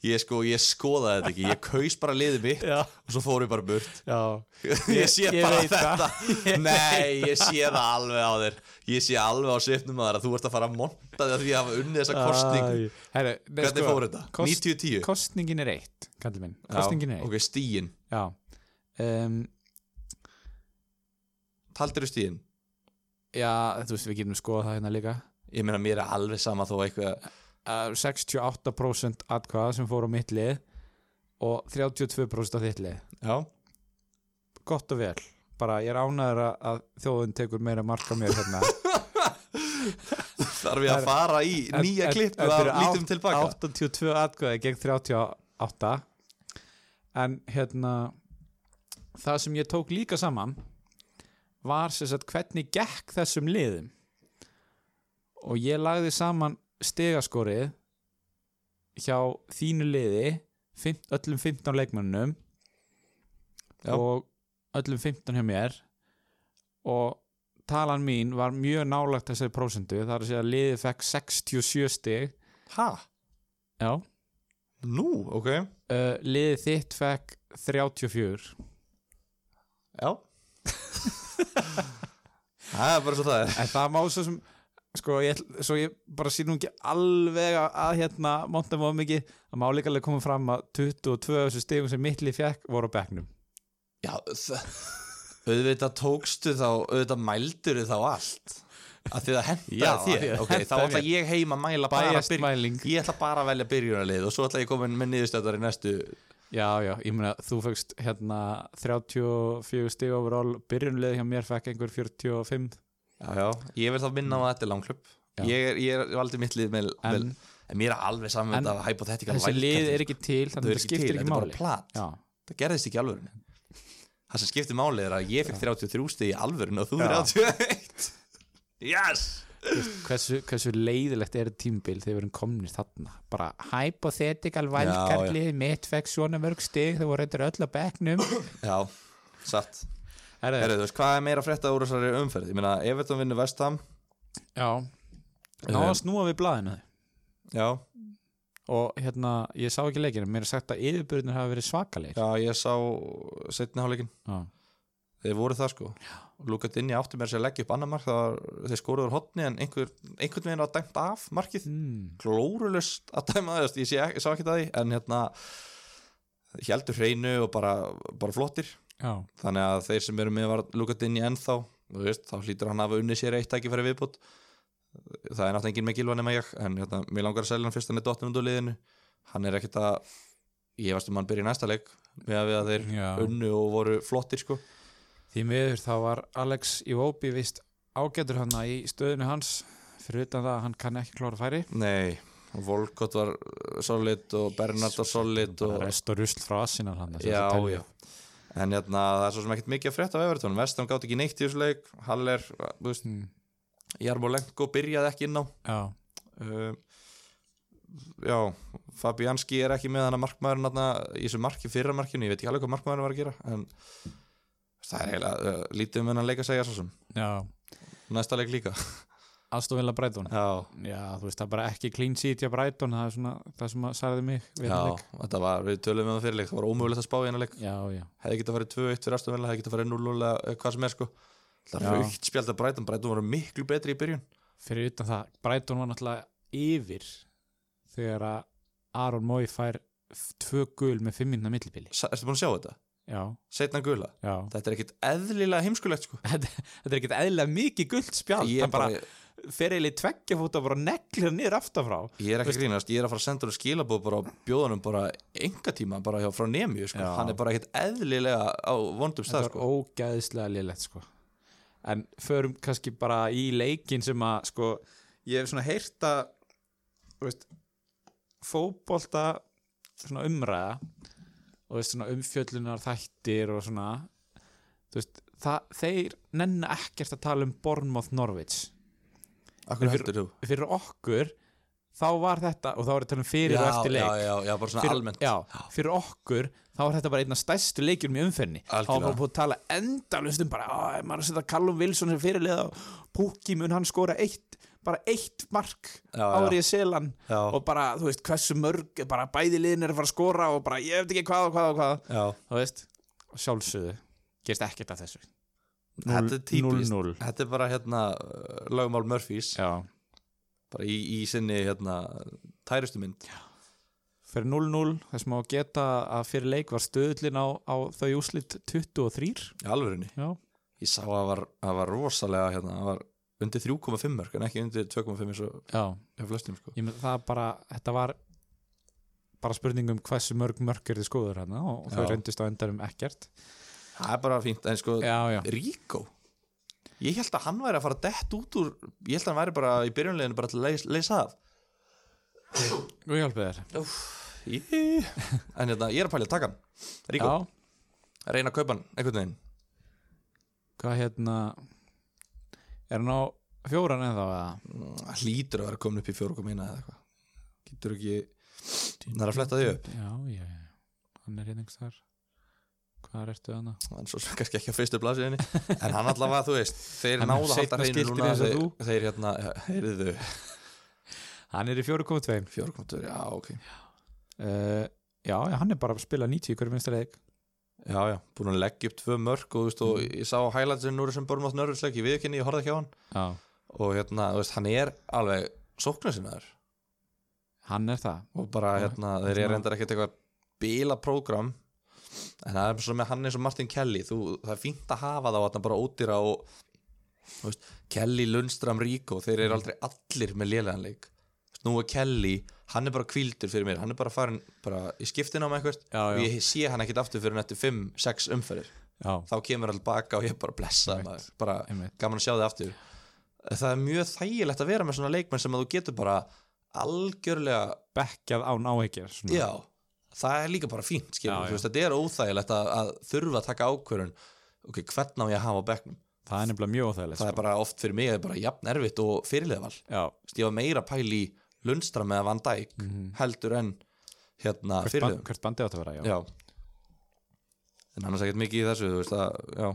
ég sko, ég skoðaði þetta ekki ég kaus bara liðið mitt
Já,
og svo fóru ég bara burt
já
Ég sé
Ég- ég
bara
veit
þetta
Ég
Nei, ég sé það alveg á þér Ég sé alveg á svipnum að þér að þú ert að fara að monta þér því að hafa unnið þessa kostningu
Æ, Herðu, nei,
Hvernig fór þetta?
Kost,
90-10?
kostningin er eitt, kallir minn Kostningin er eitt
Ok, stíin
Já, um,
Taldir þú stíin?
já þú veist, við getum skoða það hérna líka
Ég meina, mér er alveg sama þó eitthvað
uh, 68% atkvæða sem fór á mitt lið og 32% á þitt lið
Já
gott og vel bara ég er ánæður að þjóðun tekur meira marka mér hérna
Þarf ég að fara í nýja klippu
Þetta
að
eru
lítum
átt-
tilbaka
82 atkvæði gegn 38 en hérna það sem ég tók líka saman var sem sagt hvernig gekk þessum liðum og ég lagði saman stegaskorið hjá þínu liði fimm, öllum 15 leikmönnum
Já.
og öllum 15 hjá mér og talan mín var mjög nálagt þessari prósendu þar að segja að liðið fekk 67 stig
Ha?
já,
Nú, ok Já
uh, liðið þitt fekk 34
Það er bara svo það er
en það má svo sem sko, ég, ætl- svo ég bara sýnum ekki alveg að, að hérna montum of mikið að má líka alveg koma fram að 22 af þessu stigum sem mittli fekk voru á bekknum
Já, þa- auðvitað tókstu þá, auðvitað mældur þá allt að því það
Já,
henda
af því
þér
það
ok, þá
hentaði
ætla
mér.
ég heima að mæla bara
Biased
byrjun
mæling.
ég ætla bara að velja byrjunarlið og svo ætla ég að koma inn með niðurstöðar í næstu
já, já, ég meina þú fegst hérna 34 stig overall byrjunlið hjá mér fekk einhver 45
já, já. ég vil þá minna á að þetta er langklubb
Mm. Já.
ég, er- ég er aldrei mitt lið með, en,
En-
en mér er alveg saman
En-
með þetta hypothetikal
þessi lið er ekki til,
Þau
þannig að
eru
það
ekki
skiptir
til,
ekki
þetta er bara
máli
plat.
já,
það gerðist ekki í alvörunni það sem skiptir máli er að ég fekk 33 stið í alvörun og þú
Já.
31 yes
hversu, hversu leiðilegt er tímbil þegar við erum komnir þarna bara hypothetical
Já, já.
valkarlið mitt fekk svona mörg stig þegar voru reyndar öll á bekknum
já, satt
Herðu,
Heru, veist, hvað er meira að frétta úr þessari umferð? Ég meina, Everton vinnur Vestham
já ná að snúa við blaðinu
Já,
og hérna, ég sá ekki leikinu mér er sagt að yfirbyrðinu hafa verið svakalegir
já ég sá setni hálfleikin
Já.
Þeir voru það sko Lúkat inn í áttu mér sér að leggja upp annar mark það var, Þeir skoruður hotni en einhver, einhvern veginn að dæmt af markið
Mm.
Glórulust að dæma það, þú veist, ég, sé, ekki- ég sá ekki það því En hérna Hjaldur hreinu og bara, bara flottir
já,
þannig að þeir sem eru með var lúkat inn í ennþá þú veist, þá hlýtur hann að hafa unnið sér eitt ekki fyrir viðbútt það er náttúrulega engin með gilvan nema ég en hérna, mér langar að selja hann fyrst hann er dottin undur liðinu hann er ekkit að ég varst um að hann byrja í næsta leik með að við að þeir
Já.
unnu og voru flottir sko
því miður þá var Alex Iwobi vist ágætur hann í stöðinu hans fyrir utan það að hann kann ekki klára færi
nei, Volkot var uh, solid og Bernard var solid
og
og
sko, rest og rusl frá assinan hann þessi
Já,
telju.
já. en hérna, það er svo sem ekkert mikið að frétta af Everton, Vestam gátt ekki neitt í þessu leik Haller, uh, þú veist
Mm.
Jarmolenko byrjaði ekki inn á
já,
uh, já, Fabianski er ekki með hann að markmaðurinn þarna í þessu marki, fyrra markinu, ég veit ekki alveg hvað markmaðurinn var að gera en það er eiginlega uh, lítið um hennan leik að segja svo sem
já,
næsta leik líka
aðstofinlega Brighton
já,
já, þú veist, það er bara ekki clean sheet hjá Brighton, það er svona það sem að sagði mig við
já,
hann leik.
þetta var, við tölum um það fyrir leik það var ómögulegt að spá í hennan leik
já, já,
hefði getað farið 2-1 fyrir Aston Villa, hefði getað farið 0-0 eða eh, hvað sem er sko það
Já.
er raukt spjald að Brighton, Brighton voru miklu betri í byrjun
fyrir utan það Brighton var náttúrulega yfir þegar að Aron Mói fær f- tvö gul með fimmina millibili
Sa- ertu búin að sjá þetta?
já,
Setna gula,
já
þetta er ekkit eðlilega heimskulegt sko
þetta, þetta er ekkert eðlilega mikið gult spjald
ég er,
það bara
bara,
fer eiginlega í tveggja fót að bara neglir niður aftanfrá
ég er ekki að grínast, ég er að fara að senda hún skilabóð bara á bjóðanum bara enga tíma bara hjá frá nemi sko.
Já.
hann er bara ekkit eðlilega á vondum
þetta
stað
var
sko.
ógæðislega lélegt sko en förum kannski bara í leikin sem að sko ég hef svona heyrt að þú veist, fótbolta svona umræða og þú veist, svona umfjöllunar þættir og svona þú veist, það, þeir nenna ekkert að tala um Bournemouth Norwich
akkur
fyrir-
heldur þú?
fyrir okkur þá var þetta og þá var ég að tala um fyrir og eftir leik
já, já, já, bara svona
fyrir,
almennt
já, fyrir okkur þá var þetta bara einn af stærstu leikjum í umferðinni þá var
Algjörlega.
bara búið að tala endalust um bara, "Á, maður er að setja Callum Wilson sem fyrirliða og Pukki mun hann skora eitt bara eitt mark
Já,
árið selan
Já.
og bara, þú veist, hversu mörg bara bæði liðin er að fara að skora og bara, ég veit ekki hvað og hvað og hvað
já.
þú veist, og sjálfsögðu gerist ekkert af þessu
þetta er típist
0-0.
þetta er bara hérna uh, lögumál Murphys
já.
bara í, í sinni hérna tærustu mynd
fyrir 0-0, þess má geta að fyrir leik var stöðlin á, á þau úslit 23
í alvörunni
já,
ég sá að það var, að var rosalega hérna, það var undir 3,5 mörg en ekki undir 2,5 eins og
já.
hjá flestum sko.
Ég með það bara, þetta var bara spurning um hversu mörg mörg er þið skoður hérna og þau
Já.
reyndist á endarum ekkert
það er bara fínt en sko,
já, já,
Ríkó ég held að hann væri að fara dett út úr ég held að hann væri bara í byrjunleginu bara til að leys, leysa af
og ég hjálpi þér
Í- en hérna, ég er að pælja að taka hann Ríkó,
já,
reyna að kaupa hann einhvern veginn
hvað hérna er hann á fjóran eða eða?
Mm, hann hlýtur að vera komin upp í fjóru komina eða eitthvað getur ekki hann er að fletta því upp
já, já, já, hann er hérna einhvers þar hvað ertu hana?
hann er svo sem kannski ekki að fyrstu blasiðinni en hann allavega, þú veist, þeir
Hann er
náðu að halda
seinna
hreinu
skiltinn
núna
eins og
þeir,
þú.
þeir hérna, heyrðu
hann er í 4.2
fjórkvöntur, já, ok
uh, já, já, hann er bara að spila 90 í hverju minnsta leik
Já, já, búin að leggja upp tvö mörg og, þú veist, og ég sá highlightsinn úr þessum Bormátt Nörðursleik, ég viðkynni, ég horfði ekki á hann
já,
og hérna, þú veist, hann er alveg sóknarsinnaður
hann er það
og bara,
Já,
hérna,
svona-
þeir eru reyndar ekkert eitthvað bíla prógram en það er svo með hann eins og Martin Kelly þú, það er fínt að hafa þá að hann bara ódýra og, þú veist, Kelly Lundstram Ríko, þeir
Mhm.
eru aldrei allir með léleganleik, nú er Kelly hann er bara kvíldur fyrir mér, hann er bara farin bara í skiptin á með eitthvað
Já, já.
og ég sé hann ekkert aftur fyrir hann eftir 5-6 umferðir
já,
þá kemur alltaf baka og ég bara blessa
Einmitt.
maður, bara
einmitt
gaman að sjá þig aftur það er mjög þægilegt að vera með svona leikmenn sem að þú getur bara algjörlega
bekkjað án áhyggjur svona.
já, það er líka bara fínt já,
Já, já.
já. Veist, þetta er óþægilegt að, að þurfa að taka ákvörun ok, hvern á ég að hafa á bekknum
það er nefnilega mjög óþægilegt sko.
það er bara oft fyrir mig er bara jafn erfitt og fyrirleðval
já,
ég var meira pæl í Lundstram eða Van Dijk heldur en hérna
hvert, band,
fyrirleðum
hvert bandi átt að vera Mhm. já.
já en annars ekkert mikið í þessu þú veist að, já,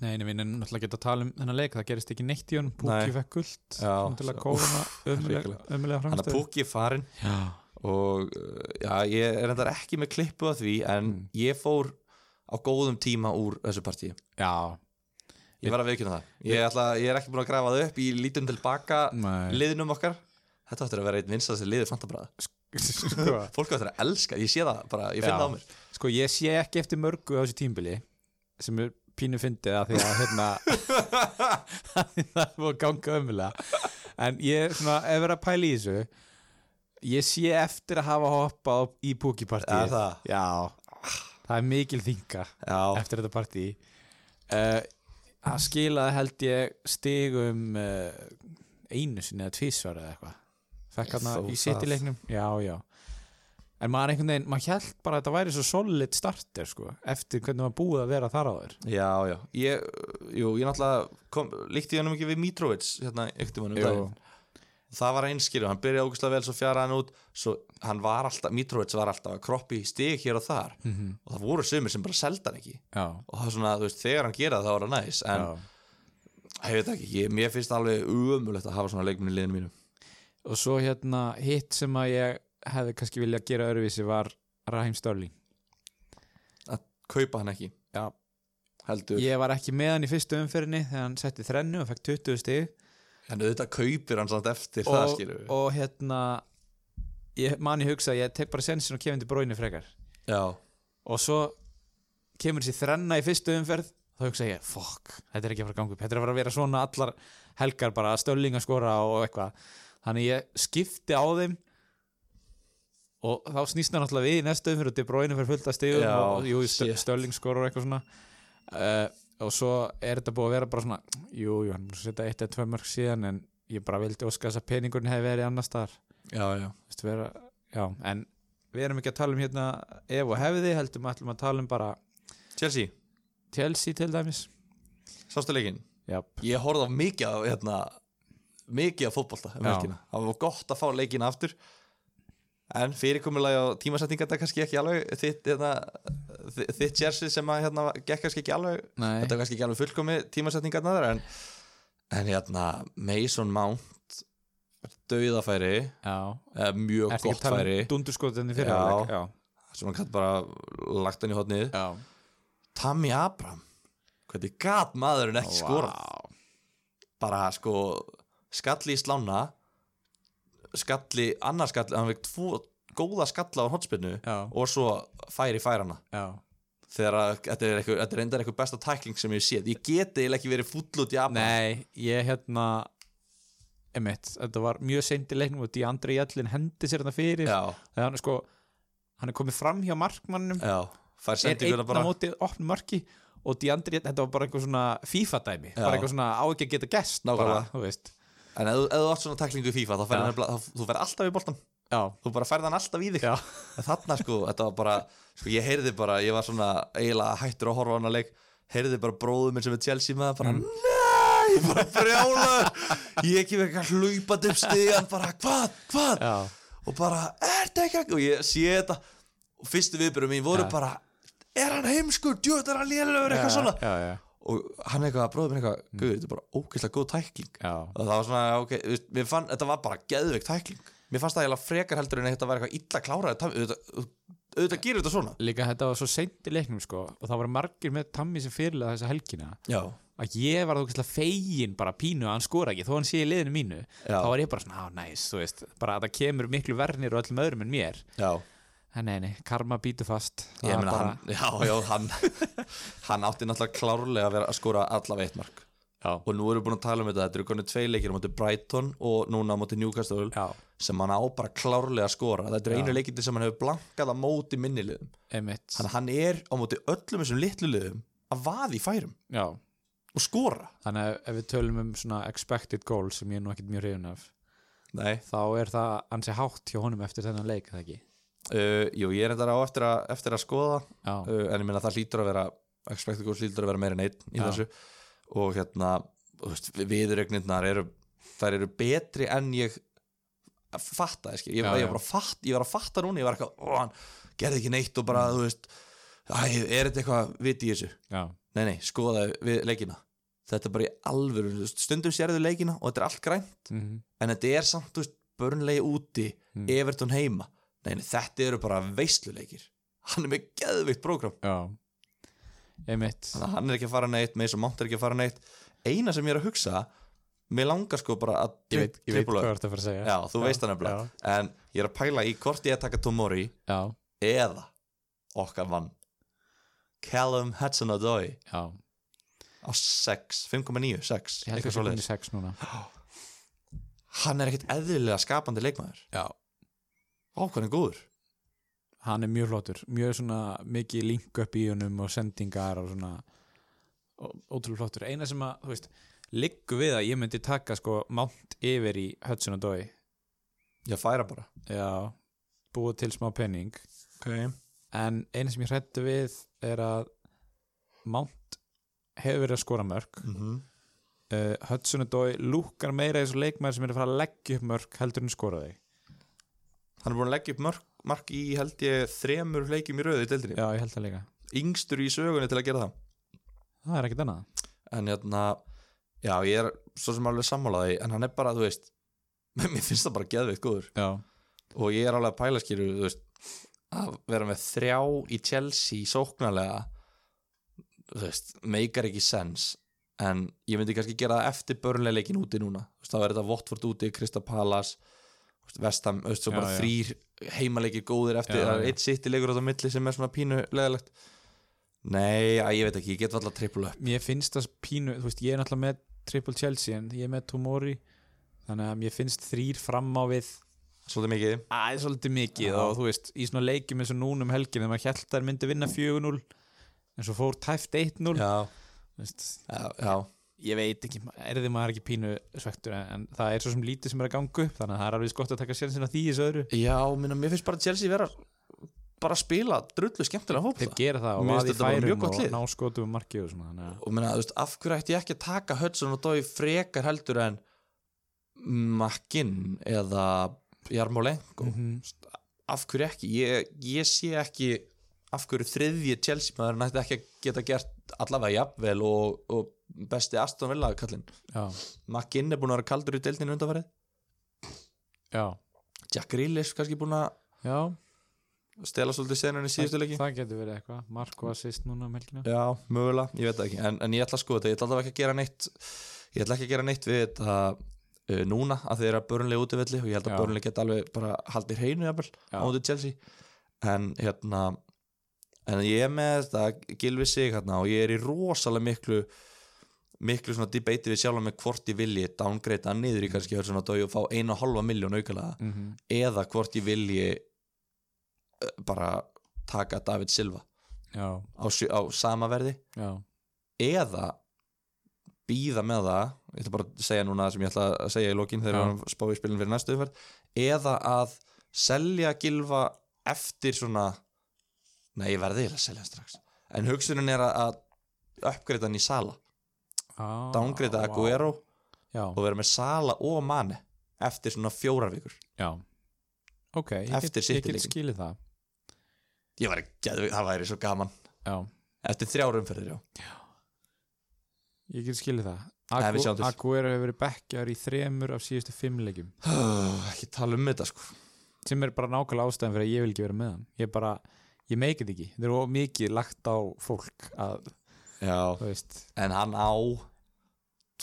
Nei, nei, við erum náttúrulega geta að tala um þennan leik það gerist ekki neitt í honum, Pukki
Nei.
fekk gult
Já,
til að
svo-
kóna
hrikalega.
ömulega
hann að
framstöð
púki farin
Já,
og uh, já, ég er endar ekki með klippu að því en
Mm.
ég fór á góðum tíma úr þessu partíi
já,
ég var að veikina það ég, ætla, ég er ekki búin að grafa það upp, ég lítum tilbaka
Nei.
liðnum okkar þetta áttur að vera einn vinsast liðið fantabræða
sko,
fólk áttur að elska, ég sé það bara, ég finn
já.
það á mér
Sko, ég sé ekki eftir mörgu á þessu tímbili sem er pínu fyndið að því að hérna af því það er búið að ganga ömulega en ég svona, ef er að pæla í þessu ég sé eftir að hafa hoppað á- í
Er
púkipartíð
það?
Já, það er mikil þinga
Já,
eftir þetta partí uh, það skilaði held ég stigum uh, einu sinni eða tvísvar eða eitthvað fekk hann
Þó
í
það.
sittileiknum já, já en maður einhvern veginn, maður held bara að þetta væri svo solid starter sko, eftir hvernig maður búið að vera þar á þér
já, já Ég, jú, ég náttúrulega kom, líkti ég hennum ekki við Mitrovic hérna ykti mannum daginn það var einskýrjum, hann byrjaði ógustlega vel svo fjara hann út, svo hann var alltaf Mitrovic var alltaf að kroppi í stig hér og þar og það voru sumir sem bara selda hann ekki
Mhm, já,
og það er svona, þú veist, þegar hann gera það þá var það næs en,
já.
ég veit ekki, ég, mér finnst alveg umulegt að hafa svona leikmenn í liðinu mínu
og svo hérna hitt sem að ég hefði kannski viljað gera öðruvísi var Raheim Störling
að kaupa hann ekki,
já,
heldur
ég var ekki með hann í fyrstu umferðinni þegar hann setti þrennu og fekk 20 stig
en auðvitað kaupir hann samt eftir það
og,
skilur við
og hérna ég, manni hugsa að ég tek bara sensin og kemur til bróinu frekar
já,
og svo kemur þessi þrenna í fyrstu umferð þá hugsa ég, fokk, þetta er ekki að fara að ganga upp þetta er að fara að vera svona allar helgar bara stölling að skora og eitthvað þannig ég skipti á þeim og þá snýst hann alltaf við í næstu umferð og til bróinu fyrir fullt að stigum
Já,
og jú,
shit.
stölling skora og eitthvað svona uh, og svo er þetta búið að vera bara svona jú, jú, hann er búinn að setja eitt eða tvö mörg síðan en ég bara vildi óska þess að peningurinn hefði verið annars staðar
já, já,
Vist, vera, já, en við erum ekki að tala um hérna ef og hefði, heldum við ætlum að tala um bara
Chelsea,
Chelsea til dæmis
sástu leikinn
já,
ég horfði á mikið af hérna, mikið af fótbolta um
Já.
helgina. það var gott að fá leikina aftur en fyrirkomulagi á tímasetninga þetta er kannski ekki alveg þitt, hérna, þi- þitt jersey sem að hérna, gekk kannski ekki alveg
nei
þetta er kannski ekki alveg fullkomi tímasetningarna þar en, en hérna Mason Mount döiðafæri,
já,
mjög
ertu ekki að
gott
tala
færi
um dundurskotinni fyrir
Já.
hálfleik?
sem hann gætt bara lagt hann í hotnið
já,
Tammy Abram hvernig gat maðurinn ekki skorað
Vá.
bara sko skalli í slána skalli, annar skalli hann vekk tvo góða skalla á hotspinnu
Já.
og svo færi færana
já,
þegar að, þetta er eitthvað, þetta er endar eitthvað besta tækling sem ég hef séð, ég geti eiginlega ekki verið fúll út í Abram
nei, ég hérna emitt, þetta var mjög seint í leiknum og því Andri Jallin hendi sér þetta fyrir
já,
þegar hann er sko hann er komið fram hjá markmannum
já, fær
er einn
sendinguna bara
á móti opnum marki og Diandri, þetta var bara eitthvað svona FIFA-dæmi,
Já.
bara eitthvað svona á ekki að geta gest bara,
Nákvæmlega.
þú veist
En ef, þú- ef þú átt svona tæklingu í FIFA þá
Já.
færði nefnilega, þá- þú færði alltaf í boltan
já,
þú bara færði hann alltaf í þig
já,
en þarna sko, þetta var bara sko, ég heyrði bara, ég var svona eiginlega hættur að horfa á hann að leik, heyrði bara bróðum minn sem er Chelsea með það, bara
Mm.
nei, bara brjála ég ekki verið eitthvað hlaupað upp stigan bara hvað, hvað,
já,
og bara er þetta ekki, og ég sé þetta og fyrstu viðbyrjum mín voru
Já.
bara er hann heimskur, djúð, er hann lélugur eitthvað svona,
já, já,
og hann eitthvað, bróðum minn eitthvað, guður, þetta er bara ógeðslega góð tækling
já.
og það var svona, ok, þú veist, mér fann, þetta var bara geðveik tækling, mér fannst það eiginlega frekar heldur en þetta var eitthvað illa kláraði tam- auðvitað, auðvitað gerir þetta svona
líka þetta var svo seint í leiknum sko og það var margir með Tammy sem fyrirlega þessa helgina
já,
að ég var þókislega fegin bara pínu að hann skora ekki, þó hann sé í liðinu mínu
Já.
þá var ég bara svona, á næs, þú veist bara að það kemur miklu verðnir og öllum öðrum en mér
já
en nei, nei, karma býtu fast Það
ég
var
meina
bara-
hann, já, já, hann hann átti náttúrulega klárlega að vera að skora allavega eitt mark
já,
og nú erum við búin að tala um þetta, þetta eru konið tvei leikir á móti Brighton og núna á móti Newcastle
já,
sem hann á bara klárlega að skora þetta eru
Já.
einu leikindi sem hann hefur blankað á móti minniliðum,
emitt
þannig að hann er á móti öllum þessum litlu liðum að vaði færum
já,
og skora
þannig að ef við tölum um svona expected goal sem ég er nú ekkert mjög hrifun af
nei,
þá er það ansi hátt hjá honum eftir þennan leik, er það ekki
Uh, jú, ég er þetta á eftir að, eftir að skoða
já,
uh, en ég meina það hlýtur að vera expected goals hlýtur að vera meira en einn í
Já.
þessu og hérna þú veist, viðregnirnar eru þær eru betri en ég fatta, ég, skil. ég,
Já,
ég,
já.
var bara fatt, ég var að fatta núna, ég var eitthvað ó, hann gerði ekki neitt og bara,
Mm.
þú veist æ, er þetta eitthvað vit í þessu
já,
nei, nei, skoða við leikina þetta er bara í alvöru, þú veist, stundum sérðu leikina og þetta er allt græn
mhm
en þetta er samt, þú veist, börnlegi úti
Mm.
Everton heima Nei, nei, þetta eru bara veisluleikir hann er með geðvikt prógram
Já Einmitt
þannig að hann er ekki að fara neitt, Mason Mount er ekki að fara neitt eina sem ég er að hugsa mér langar sko bara að
Ég veit, ég veit hvað
tripla upp.
þú ert að fara að segja
já, þú veist það nefnilega, en ég er að pæla í hvort ég að taka Tomori
Já, já.
eða okkar mann Callum Hudson-Odoi
já,
á 6, 5,9, 6
ég held
eitthvað
að það er
svoleiðis.
sex núna
hann er ekkert eðlilega skapandi leikmaður
já,
ákvæðin góður
hann er mjög flottur mjög svona mikið link upp í honum og sendingar og svona ó- ótrúlega flottur, eina sem að þú veist, liggu við að ég myndi taka sko mánt yfir í Hudson og Dói
já, færa bara
já, búa til smá penning
okay.
en eina sem ég hrættu við er að Mount hefur verið að skora mörg
mm
uh, Hudson og Dói lúkar meira eins og leikmæður sem er að fara að leggja upp mörg heldur en skora þau
hann er búin að leggja upp mark, mark í held ég þremur leikjum í röðu í deildinni
já, ég held það líka,
yngstur í sögunni til að gera það
það er ekkert annað
en hérna, já ég er svo sem alveg sammálaði, en hann er bara, þú veist mér finnst það bara geðveikt góður
já,
og ég er alveg að pæla skilur, þú veist að vera með þrjá í Chelsea sóknarlega þú veist, meikar ekki sens en ég myndi kannski gera það eftir börnlega leikin úti núna, þú veist, þá er þetta Votford úti, Krista Palas Vestam, þú veist, svo
Já,
bara
já.
þrýr heimaleikir góðir eftir,
Já,
það
já.
er eitt sitt í leikur á það milli sem er svona pínu leðilegt Nei, að ég veit ekki, ég get alltaf triple upp
mér finnst það pínu, þú veist, ég er náttúrulega með Triple Chelsea en ég er með Tomori þannig að mér finnst þrýr fram á við
svolítið mikið
aðeins svolítið mikið og þú veist, í svona leikjum eins og núnum helgin þegar maður held að þær myndi vinna 4-0 en svo fór tæft 1-0
Já,
Þú veist,
já, já,
ég veit ekki, erði maður ekki pínu svektur en, en það er svo sem lítið sem er að ganga upp þannig að það er alveg gott að taka sérn sinna því í þessu öðru
já minna, mér finnst bara Chelsea vera bara að spila drullu skemmtilega
þeir
fókla
gera það og
Mér finnst
vaði
þetta bara mjög
færum
gott
og
lið.
ná skotum og marki og svona þannig að
og minna, þú veist, af hverju ætti ég ekki að taka Hudson og Dói frekar heldur en Makin eða Jarmolenko
Mhm.
af hverju ekki, ég, ég sé ekki af hverju þriðji Chelsea maður nætti ekki að geta gert allavega jafnvel og, og besti Aston Villa kallinn,
já,
Makin er búin að vera kaldur í deildinu undanfarið,
já,
Jack Grealish kannski búin að
já
stela svolítið senunni síðustu leiki
það getur verið eitthvað, mark og assist núna um helgina
Já, mögulega, ég veit það ekki en, en ég ætla að skoða þetta, ég ætla allavega ekki að gera neitt ég ætla ekki að gera neitt við þetta uh, núna að þeir eru að börnlega útivelli og ég held að
Já.
börnlega geta alveg bara haldið hreinu jafnvel
Já.
á mótið Chelsea en hérna en ég er með þetta gilvi sig hérna og ég er í rosalega miklu miklu svona debatei við sjálf með hvort ég vilji downgreita hann niður í kannski hörðu svona dói og fá einu og halva miljón aukalega
mm
eða hvort ég vilji uh, bara taka David Silva
já,
á, sjö- á sama verði
já,
eða býða með það, ég ætla bara að segja núna það sem ég ætla að segja í lokin þegar
Já.
hann spáði spilin fyrir næstu umferð, eða að selja gilfa eftir svona nei, ég verði eiginlega að selja hann strax en hugsunin er að, að uppgreita hann í sala,
ah,
downgreita Aguero
já,
og vera með sala og manni eftir svona fjórar vikur
já ok, ég get,
Eftir
ég get
City-leikinn.
skilið það
ég var ekki, það væri svo gaman
já,
eftir þrjár umferðir, já,
ég get skilið það
Nei, við sjáum
Agu-
til.
Aguero hefur verið bekkjar í þremur af síðustu fimm leikjum
ekki tala um þetta sko
sem er bara nákvæmlega ástæðan fyrir að ég vil ekki vera með hann ég bara, ég meikið ekki þetta er of mikið lagt á fólk að,
já,
þú veist,
en hann á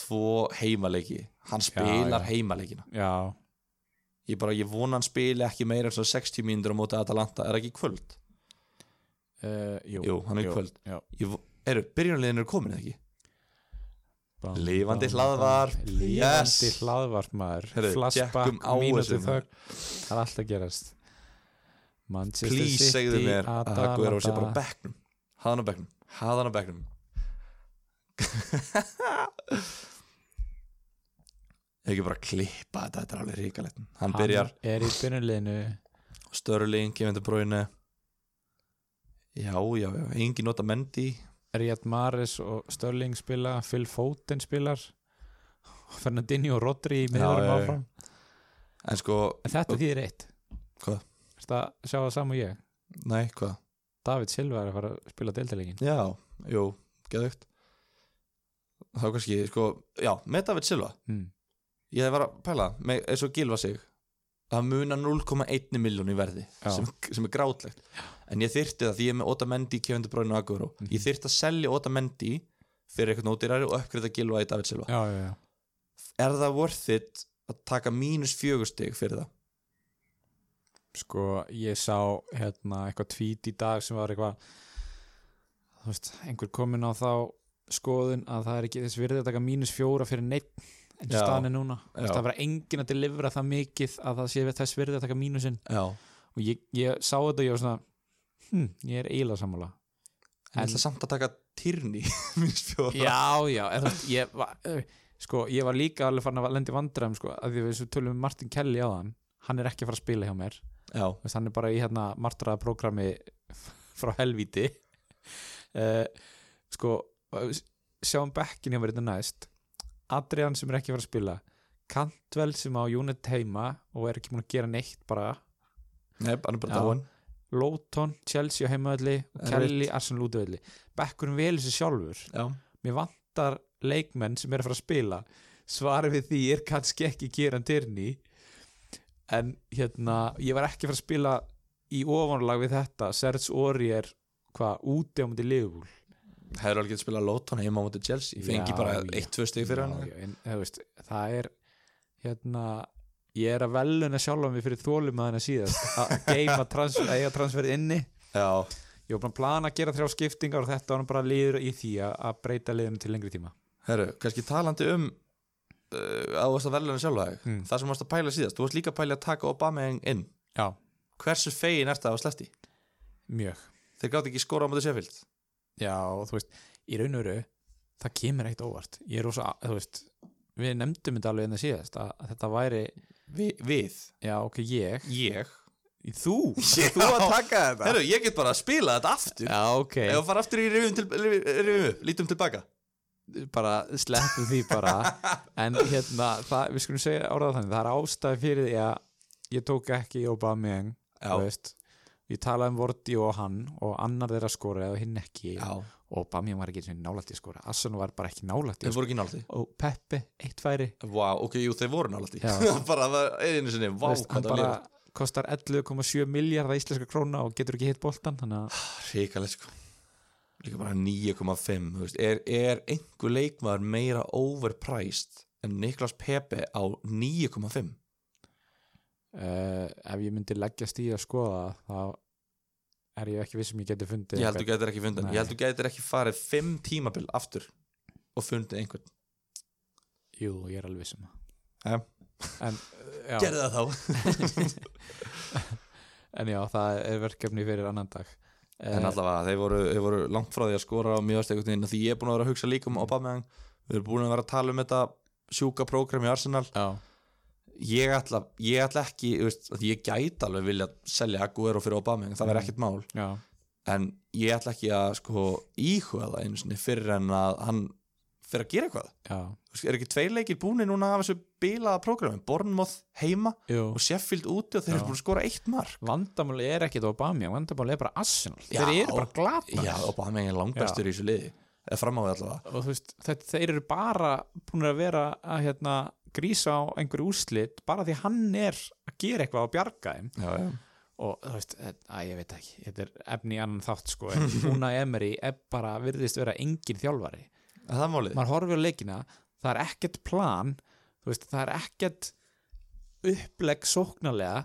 tvo heimaleiki hann spilar
já.
heimaleikina
já
ég bara, ég vona hann spili ekki meira en svona 60 mínútur á móti Atalanta, er það ekki í kvöld
uh, jú,
Jú, hann er í kvöld.
já.
ég, vo- eru, byrjunlegin eru komin eða ekki
Bam,
Lifandi
bam,
hlaðvarp.
bam. lifandi
Yes.
hlaðvarp maður
Heyrðu, tjekkum
flashback,
á
mínútu
þessu, hérna.
þögg
maður.
það er allt að gerast Manchester
please segðu
City,
mér að Aguero sé bara á
Atalanta.
bekknum haðan á bekknum, haðan á bekknum ekki bara klippa þetta, þetta er alveg ríkalegt hann
Hann
byrjar
er í byrjunleginu
Störling, Kevin De Bruyne já, já, já, engin nota Mendy
Riyad Mahrez og Störling spila Phil Foden spilar Fernandinho og Rodri í miðurum
já, já.
áfram
en sko,
En þetta þýðir eitt
Hvað?
Ertu að sjá það saman og ég
nei, hvað
David Silva er að fara að spila deildalegin
Já, jú, geðugt Þá kannski, sko Já, með David Silva
mm.
Ég var að pæla, það, með, eins og gilva sig Það munar 0,1 miljón í verði
Já.
sem, sem er grátlegt En ég þyrti það því ég er með Otamendi, Kevin De Bruyne og Aguero
Mhm.
Ég þyrti að selja Otamendi fyrir eitthvað nótirari og uppgreita gilva í David Silva
Já, já, já
Er það worth it að taka mínus fjögustig fyrir það?
Sko, ég sá hérna eitthvað tweet í dag sem var eitthvað þú þú veist, einhver komin á þá skoðun að það er ekki þess virði að taka mínus fjóra fyrir neitt eins og
Já.
staðan er núna Þú veist,
Já.
það var engin að delivera það mikið að það sé við þess virði að taka mínusinn
já.
og ég, ég sá þetta og ég var svona hm, ég er eiginlega sammála
En ég ætla samt að taka Tyrni Minns fjóra
já, já, en þú veist, ég var eh, sko, ég var líka alveg farin að lendi vandræðum sko, að því við svo tölum við Martin Kelly á hann hann er ekki að fara að spila hjá mér
já.
Þú veist, hann er bara í hérna martraða prógrami frá helvíti uh, sko eh, sjáum bekkin hjá mér þetta næst Adrian sem er ekki að fara að spila Cantwell sem á unit heima og er ekki múin að gera neitt bara
Nei, hann er bara
Já.
dáin
Lóton, Chelsea á heimaðalli og
Erfitt.
Kelly, Arsenal útöðalli bekkurinn velur sér sjálfur
Já,
mér vantar leikmenn sem er að fara að spila svarið við því er kannski ekki Kieran Tierney en hérna, ég var ekki að fara að spila í ofanlag við þetta Serge Ori er hvað, úti á myndi liðbúl
hefur alveg getið spilað Lóton heima á móti Chelsea Fengi
Já,
bara
já.
eitt, tvö stig fyrir hann
en, þú veist, það er hérna, ég er að veluna sjálfa mig fyrir þólum að hana síðast að geima transfer, eiga transferið inni
Já,
ég var bara að plana að gera þrjá skiptingar og þetta var nú bara liður í því að- að breyta liðinu til lengri tíma
herru, kannski talandi um uh, að þú varst að velja hann sjálfa þig
Mm.
Það sem þú varst að pæla síðast, þú varst líka að pæla að taka Obama inn
Já.
Hversu fegin ert það að slefti?
mjög
Þeir gátt ekki skora á móti Sheffield
Já, og þú veist, í raun og veru það kemur eitt óvart ég er rosa, þú veist, við nefndum þetta alveg en það síðast að, að þetta væri
Vi, Við
já, ok, ég,
Ég
þú
Þú að taka þetta Herru, ég get bara að spila þetta aftur
já, ok,
Ef þú fara aftur í rifjum, til, rifjum, rifjum upp, lítum tilbaka
bara sleppum því bara en hérna, það, við skulum segja orðað þannig, það er ástæði fyrir því að ég tók ekki í Obameyang þú veist, ég talaði um Vorti og hann og annar þeirra skora eða hinn ekki
já
Obameyang var ekki einu sinni nálægt í að skora Assun var bara ekki nálægt í
Þeir
að skora
voru ekki nálaði
og Peppi, eitt færi
Vá, ok, jú, þeir voru nálaði
Já.
Bara það er einu sinni, vá,
Þú veist, hann
hvað það
bara
lýður
kostar 11,7 miljardar íslenska króna og getur ekki hitt boltan þannig að
Ríkalegt, sko Líka bara 9,5, þú veist er, er einhver leikmaður meira overpriced en Niklas Pepe á 9,5
uh, ef ég myndi leggjast í að skoða það, þá er ég ekki viss sem ég geti fundið
Ég held þú gætir ekki fundin
Nei.
Ég held þú gætir ekki farið 5 tímabil aftur og fundið einhvern
eitthvað- jú, ég er alveg viss um
Jæja.
það en, uh, já,
Gerðu það þá
en já, það er verkefni fyrir annan dag
En
Eh,
allavega, þeir voru, þeir voru langt frá því að skora á mjög stegutin því ég er búin að vera að hugsa líka um Aubameyang við erum búin að vera að tala um þetta sjúka prógram í Arsenal
já,
ég ætla, ég ætla ekki, þú veist, að ég gæti alveg vilja selja Aguero fyrir Aubameyang það verði
Mm.
ekkert mál
já,
en ég ætla ekki að sko íhuga það einu sinni fyrir en að hann fyrir að gera eitthvað
já,
Þú veist, er ekki tveir leikir búni núna af þessu bilaða prógrami Bournemouth heima
jú
og Sheffield úti og þeir
Já.
eru búin að skora eitt mark
vandamáli er ekkit Obama, vandamáli er bara Arsenal
Já.
þeir eru bara glata
Já, Aubameyang er langbestur í þessu liði eða fram á við allavega
og þú veist, þetta, þeir eru bara búin að vera að hérna, grísa á einhverju úrslit bara því hann er að gera eitthvað og bjarga þeim
Já, já
og þú veist, þetta- að ég veit ekki þetta er efni í annan þátt sko en Una Emery er bara virðist vera engin þjálfari,
Er Það er málið
maður horfir á leikina það er ekkert plan þú veist, það er ekkert upplegg sóknarlega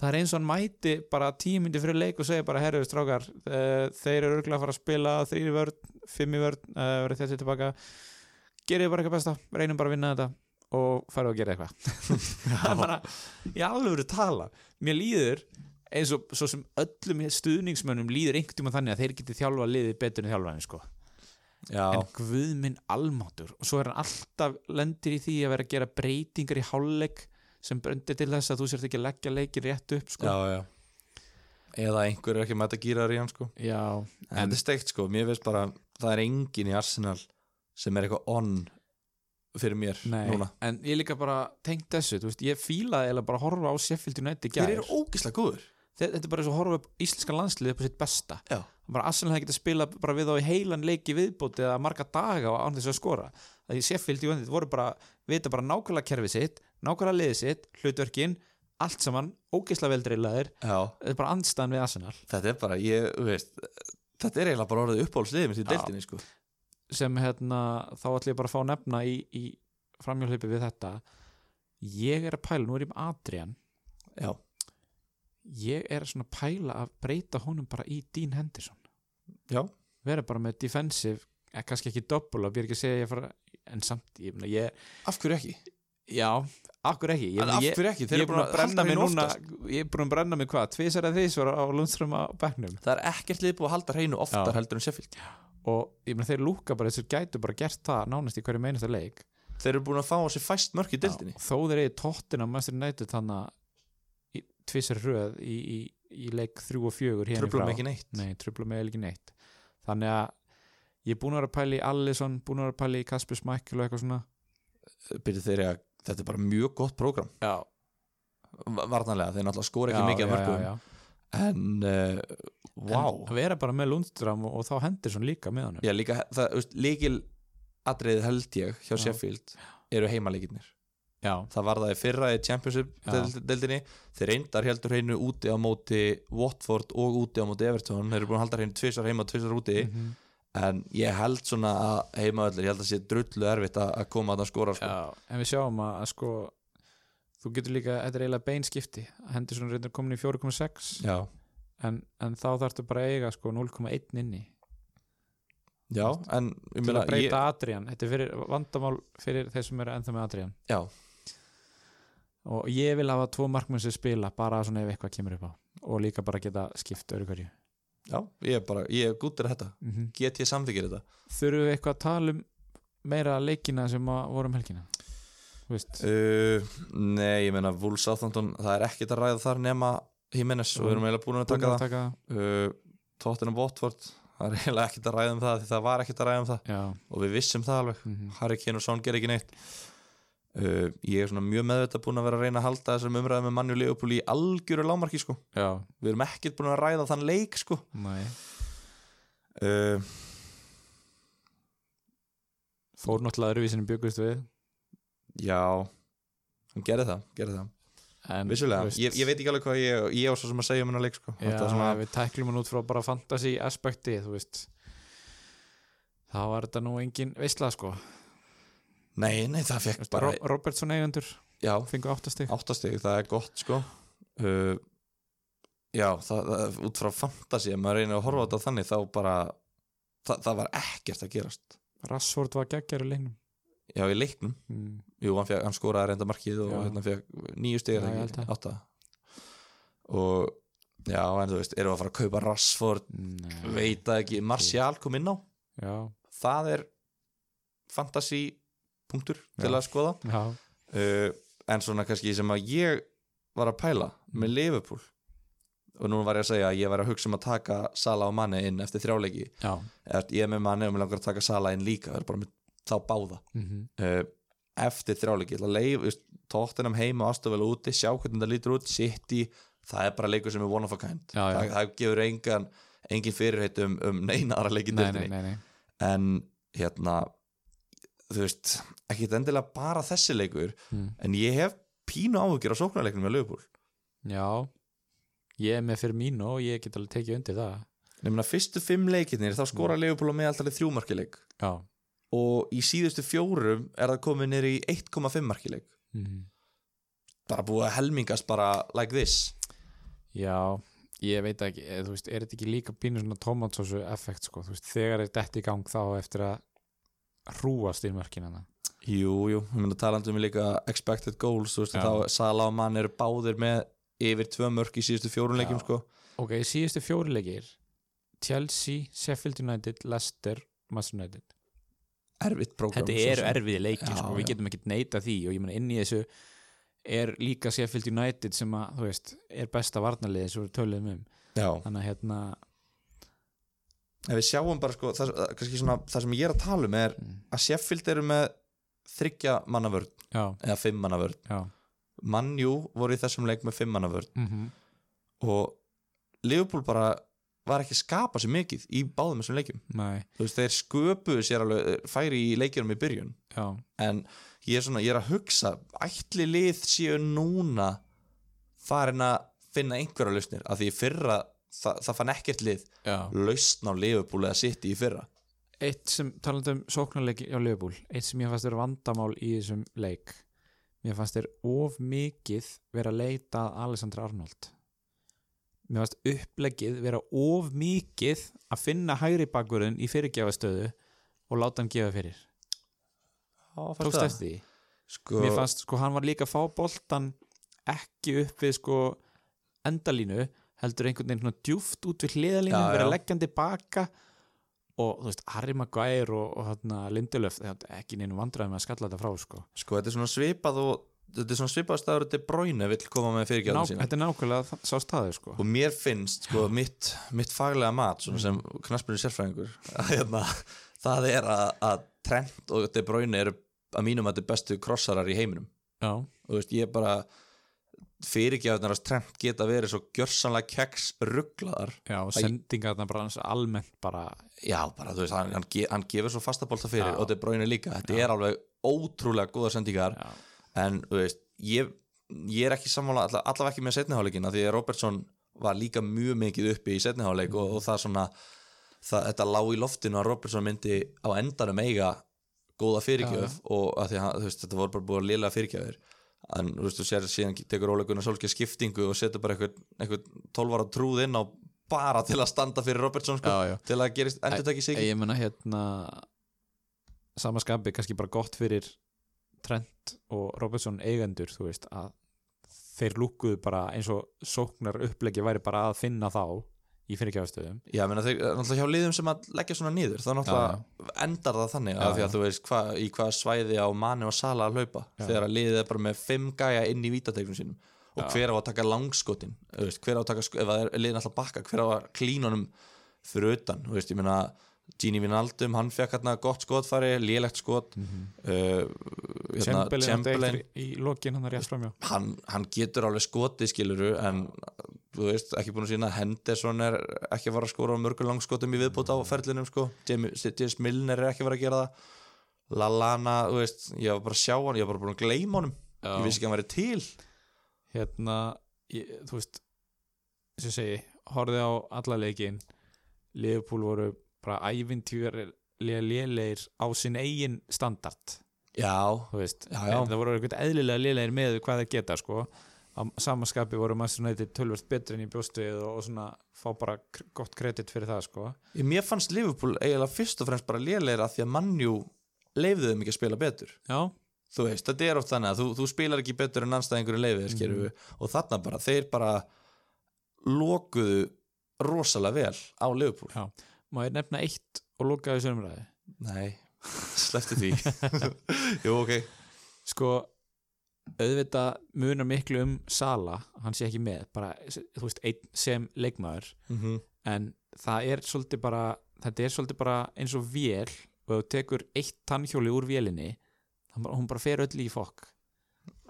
það er eins og hann mæti bara tímyndi fyrir leik og segja bara herruðu strákar uh, þeir eru örgulega að fara að spila þrýri vörn, fimmi vörn, uh, verið þessi tilbaka gerið bara eitthvað besta, reynum bara að vinna þetta og farið að gera eitthvað það er bara, í alvöru tala mér líður eins og svo sem öllum stuðningsmönnum líður einhvern tíma þannig að þeir geti þjálfa liðið betur en þjálfaðin sko
Já,
en guð minn almáttur og svo er hann alltaf lendir í því að vera að gera breytingar í hálfleik sem bröndir til þess að þú sért ekki að leggja leikin rétt upp sko.
já, já Eða einhver er ekki með þetta gýrar í hann sko
já,
En þetta er steikt sko, mér veist bara Það er engin í Arsenal sem er eitthvað on fyrir mér
nei,
núna
en ég líka bara tengt þessu, þú veist, ég fílaði eða bara að horfa á Sheffield United í
Þeir
gær
eru ógislega góður
Þe- þetta er bara eins og að horfa upp íslenska landslið upp á sitt besta
Já,
bara Arsenal hefði getið að spila bara við þá í heilan leiki viðbóti eða marga daga á án þess að skora það í Sheffield United voru bara vita bara nákvæmlega kerfið sitt, nákvæmlega liðið sitt hlutverkin, allt saman ógeislega veldreilaðir,
já
þetta er bara andstæðan við Arsenal
Þetta er bara, ég, þú veist Þetta er eiginlega bara orðið uppáhaldsliðið mitt í
Já.
deildinni sko
sem hérna, þá ætlum ég bara að fá að nefna í, í framhjálpi við þetta ég er að pæla, nú er ég með Adrian
Já,
ég er svona að pæla að breyta honum bara í Dean Henderson
já,
vera bara með defensive eh, kannski ekki doppul og ég er ekki að segja að ég fara en samt, ég meina ég
af hverju ekki?
já, akkur ekki ég,
En
meina,
af
ég,
hverju ekki?
ég
Þeir eru
er búin að brenna
halda
mig
hreinu
núna
oftast.
ég er búin að brenna mig hvað, tvisar að þrísvar á Lundström á bekknum
það er ekkert lið búið að halda hreinu oftar
Já.
heldur en Sheffield
og ég meina þeir lúka bara þessir gætu bara gert það nánast í hverju meinasta leik
þeir eru búin að fá á sig fæst mörk í dildinni
Já, þó þeir eigi tóttin á Master United þannig að tvisar hröð í, í, í leik 3 og 4 hérna
tröflum ekki neitt
Nei, trubla mig ekki neitt Þannig að ég er búin að vera að pæla í Allison, búin að vera að pæla í Kasper Smækkel og eitthvað svona
byrju þeir að þetta er bara mjög gott prógram
Já,
varnarlega, þeir náttúrulega skora ekki mikið af mörgum
já, já.
en uh, wow
En vera bara með Lundstram og, og þá hendir svona líka með honum
já, líka, það, þú veist, líkil atriðið held ég hjá
Já.
Sheffield eru heimaleikirnir
Já,
það var það í fyrra í Championship
Já.
deild- deildinni, þeir reyndar heldur hreinu úti á móti Watford og úti á móti Everton, þeir eru búin að halda hreinu tvisar heima og tvisar úti,
Mhm.
en ég held svona að heimavöldur, ég held að sé drullu erfitt að, að koma að það skora sko.
já. En við sjáum að, að sko þú getur líka, þetta er eiginlega beinskipti hendir svona reyndar komin í 4,6
já,
en, en þá þarftu bara að eiga sko 0,1 inni
já, en
til
ég meina,
að breyta
ég,
Adrian Þetta er fyrir, vandamál fyrir þeir sem eru ennþá með Adrian
já,
og ég vil hafa tvo markmenn sem spila bara svona ef eitthvað kemur upp á og líka bara geta skipt öru hverju
já, ég er bara ég er gúttir að þetta, get ég samþykir þetta
þurfum við eitthvað að tala um meira leikina sem að voru um helgina þú veist
Uh, nei, ég meina Wolves Southampton, það er ekkert að ræða þar nema Jimenez og við erum eiginlega búin að
búin
taka
Mm. að
það
taka
uh, Tottenham Watford, það er eiginlega ekkert að ræða um það því það var ekkert að ræða um það
já,
og við vissum það alveg,
mhm,
Harry Kane og Son ger ekki neitt uh, ég er svona mjög meðvitað búin að vera að reyna að halda þessum umræðum um með manni og Leopold í algjöru lámarki sko
já,
við erum ekkert búin að ræða þann leik sko
næ
uh,
fór náttúrulega öruvísinum byggust við
já hann gerði það, gerði það
en,
vissulega,
þú veist,
ég, ég veit ekki alveg hvað ég, ég á svo sem að segja um hennar leik sko
já,
Þetta er svona,
við tæklum hann út frá bara fantasy aspekti þú veist þá var þetta nú engin veistla sko
nei, nei, það
Þú
fekk
veist,
bara
Ro- Robertson eigendur
já,
fengu áttastig
áttastig, það er gott sko uh, já, það, það, út frá fantasi ef maður reynir að horfa á þetta þannig þá bara það, það var ekkert að gerast
Rassford var geggjær í leiknum
já, í leiknum,
mm.
jú, hann, fekk, hann skoraði reynda markið og
Já.
hérna fekk nýju stigar
Já, ég held það.
átta og já, en þú veist, erum við að fara að kaupa Rashford,
Nei.
veit það ekki Martial kom inn á,
já,
það er fantasi punktur til
Já.
að skoða
já
uh, en svona kannski sem að ég var að pæla
Mm.
með Liverpool og nú var ég að segja að ég var að hugsa um að taka Sala og Manni inn eftir þrjáleiki
Já,
Eftir, ég er með Manni og mér langar að taka Sala inn líka það er bara með þá báða
Mhm.
uh, eftir þrjáleiki, ég ætla að leif tóttinam heima, ástofvel úti, sjá hvernig það lítur út City, það er bara leikur sem er one of a kind,
Já, já.
Það, það gefur engan engin fyrirheit um, um neina aðra leikin
nei, nei, nei, nei.
en hérna þú veist, ekki endilega bara þessi leikur
Mm.
en ég hef pínu áhugjur á sóknarleiknum með Liverpool
Já Ég er með fyrir mínu og ég get alveg tekið undir það
en ég meina fyrstu fimm leikinnir þá skora Liverpool á meðaltalið þrjú markileik
Já
og í síðustu fjórum er það komið niður í 1,5 markileik
Mhm.
bara búið að helmingast bara like this
Já, ég veit ekki eh, Þú veist, er þetta ekki líka pínu svona tomatsósu effekt sko, þú veist, þegar er þetta í gang þá á eftir að hrúast í mörkinana
jú, jú, ég meina talandi um líka expected goals, þú veist,
Já.
þá Sala og Mann eru báðir með yfir tvö mörk í síðustu fjórum leikum,
Já.
sko
Ok, í síðustu fjórilegir Chelsea, Sheffield United, Leicester Master United
erfitt prógram
Þetta
svo
eru
sem.
erfiði leikir
Já,
sko, við
já.
getum ekkert neita því og ég meina inn í þessu er líka Sheffield United sem að, þú veist, er besta varnarliðið sem við töluðum um
Já.
þannig að hérna
ef við sjáum bara sko það, kannski svona, það sem ég er að tala um er
Mm.
að Sheffield eru með þryggja mannavörn
já,
eða fimm mannavörn
já
mannjú voru í þessum leik með fimm mannavörn
mm
og Liverpool bara var ekki að skapa sér mikið í báðum þessum leikjum
Nei,
þú veist þeir sköpuðu sér alveg eh, færi í leikjunum í byrjun
já,
en ég er svona, ég er að hugsa ætli lið séu núna farin að finna einhverja lausnir af því í fyrra það, það fann ekkert lið
já
lausn á Liverpool eða City í fyrra
Eitt sem talandi um sóknarleiki á Liverpool eitt sem ég fannst vera vandamál í þessum leik mér fannst þér of mikið vera að leita að Alessandra Arnold mér varst uppleggið vera of mikið að finna hægri bakvörðin í fyrirgjafastöðu og láta hann gefa fyrir tókst eftir því
Sko,
mér fannst sko hann var líka að fá boltan ekki upp við sko endalínu heldur einhvern veginn svona djúft út við hliðalínu
Já,
vera
já.
leggjandi baka og þú veist Harry Maguire og, og hérna, Lindelöf það er ekki neinu vandræði með að skalla þetta frá sko
sko, þetta er svona svipað og þetta er svona svipað staður De Bruyne vill koma með
Ná,
fyrirgjáðum sína
þetta er nákvæmlega þa- sá staði sko
og mér finnst, sko, mitt, mitt faglega mat svona sem knaspunni sérfræðingur að, hérna, það er að, að Trent og De Bruyne eru að mínum að þetta bestu krossarar í heiminum
já,
og veist, ég bara fyrirgjáðunar að Trent geta verið svo gjörsanlega keks rugglaðar
já og sendinga þarna bara hans almennt bara
já, bara, þú veist, hann, hann, ge, hann gefur svo fastabólta fyrir
Já.
og De Bruyne líka, þetta er alveg ótrúlega góða sendingar
já,
en þú veist, ég, ég er ekki sammála alla, allavega ekki með setniháleikina því að Robertson var líka mjög mikið uppi í setniháleik og, og það svona það, þetta lá í loftinu að Robertson myndi á endanum eiga góða fyrirgjöf og að því að þú veist, þetta voru bara búið að lila fyrirgjöfir en þú veist, þú sér síðan tekur Óla Gunnar Solskja skiptingu og setur bara eitthvað, eitthvað 12 ára trúð inn á bara til að standa fyrir Robertson sko,
já, já.
til að gerist endur takk í sig
Ég, ég menna hérna samaskapi kannski bara gott fyrir Trent og Robertson eigendur þú veist að þeir lúkuðu bara eins og sóknar upplegi væri bara að finna þá í fyrirgjáðastöðum
Já, ég meina, þeir, náttúrulega hjá liðum sem að leggja svona nýður þá náttúrulega endar það þannig
Já,
af því að
já.
þú veist hva, í hvaða svæði á manni og sala að hlaupa
Já.
þegar að liðið er bara með fimm gæja inn í vítategnum sínum og
Já.
hver á að taka langskotin þú veist, hver á að taka, sk- ef það er liðin alltaf bakka hver á að klína honum fyrir utan þú veist, ég meina Gini Vinaldum, hann fekk hérna gott skotfari, lélegt skot mm uh, hérna,
Chamberlain,
Chamberlain
átti eitt í lokin hann er rétt framjá
hann, hann getur alveg skotið skiluru en þú veist, ekki búin að sína að Henderson er ekki að fara að skora á mörgum langskotum í viðbútt á ferlinum sko. James James Milner er ekki að fara að gera það Lallana, þú veist ég var bara að sjá hann, ég var bara búin að gleyma honum
Já.
ég vissi ekki að hann væri til
hérna, ég, þú veist sem ég segi, horfið á alla leikin Liverpool voru bara ævintýrar lélegir á sinn eigin standart
já,
þú veist,
Já, já.
En það voru eitthvað eðlilega liðlegir með hvað það geta sko að samaskapi voru Manchester United tölvöld betri en í bjóstuðið og, og svona fá bara kr- gott kredit fyrir það sko
ég, mér fannst Liverpool eiginlega fyrst og fremst bara lélegir að því að mannjú leifðu þeim ekki að spila betur
já,
þú veist, þetta er oft þannig að þú, þú spilar ekki betur en anstæðingur en leifið, skerum og þarna bara, þeir bara lokuðu rosalega vel á Liverpool
já. má ég nefna eitt og loka þessu umræði
Nei, slefti því Jú, ok
sko, auðvitað munar miklu um Sala hann sé ekki með, bara, þú veist, einn sem leikmaður
mm
en það er svolítið bara þetta er svolítið bara eins og vél og ef þú tekur eitt tannhjóli úr vélinni þá bara- hún bara fer öll í fokk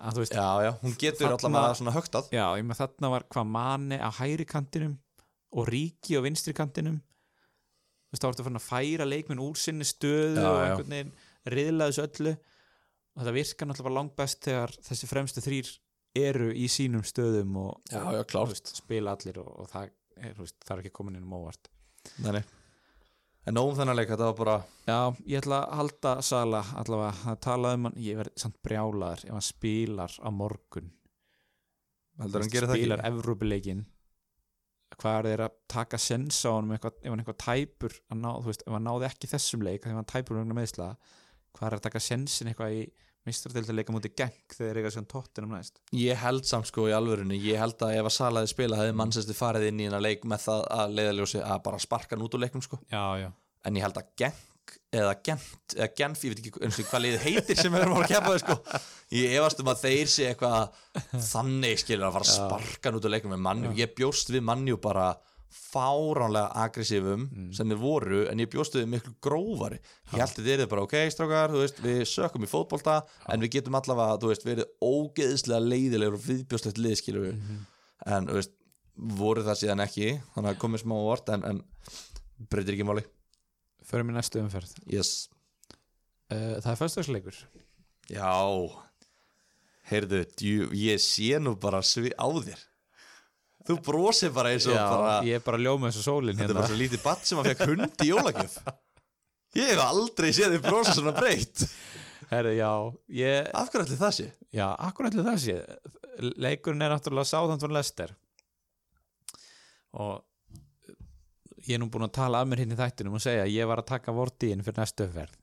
að þú veist,
Já, já, hún getur
Þarna-
allavega svona högtað
já, ég með þarna var hvað manni á hægri kantinum og ríki á vinstri kantinum þú veist, þá ertu farin að færa leikminn úr sinni stöðu
Já,
og
já.
einhvern veginn riðla þessu öllu og þetta virkar náttúrulega bara langbest þegar þessi fremstu þrýr eru í sínum stöðum og, og
já, klárst
spila allir og, og það, er, þú veist, það er ekki komin inn um óvart
Nei, nei En nóg um þennan leik, þetta var bara
Já, ég ætla að halda Sala allavega að tala um hann, ég verð samt brjálaður ef hann spilar á morgun
Heldur hann gerir það
spilar
ekki
Evrópuleikin hvað er þeir að taka sens á hann eitthvað, ef hann eitthvað tæpur að ná, þú veist, ef hann náði ekki þessum leik þegar hann tæpur um meðsla hvað er að taka sensin eitthvað í mistradildarleika múti geng þegar þeir eitthvað sem tóttinum næst
Ég held samt sko í alvörunni Ég held að ef að Salaði spila hefði mannsæsti farið inn í hennar leik með það að leiðaljósi að bara sparka hann út úr leiknum sko
Já, já
En ég held að Genk eða Gent eða Genf, ég veit ekki eins og hvað liðið heitir sem við erum að kepa þau sko Ég efast um að þeir sé eitthvað þannig skilur að fara að sparka hann út á leikum með mannjú Ég bjóst við mannjú bara fáránlega aggressífum sem þeir voru en ég bjóst við miklu grófari Ég held að þeir eru bara ok strákar, þú veist, við sökum í fótbolta en við getum allavega, þú veist, verið ógeðslega leiðilegur og viðbjóstlegt lið skilur við en, þú veist, voru það síðan ekki þannig að komið smá vort en, en breytir ekki máli
Förum í næstu umferð
Yes.
uh, Það er föstagsleikur
Já Heyrðu, djú, ég sé nú bara svi á þér Þú brosir bara eins og bara
Ég er bara að ljóma þessu sólin
Þetta er bara
hérna
svo lítið batt sem að fekk hund í jólagjöf Ég hef aldrei séð þið brosa svona breytt
Herri, já, ég,
Af hverju ætli það sé?
Já, akkur ætli það sé leikurinn er náttúrulega sáðan fyrir Lester og ég er nú búin að tala að mér hérna í þættinum og segja að ég var að taka vortíin fyrir næstu uppverð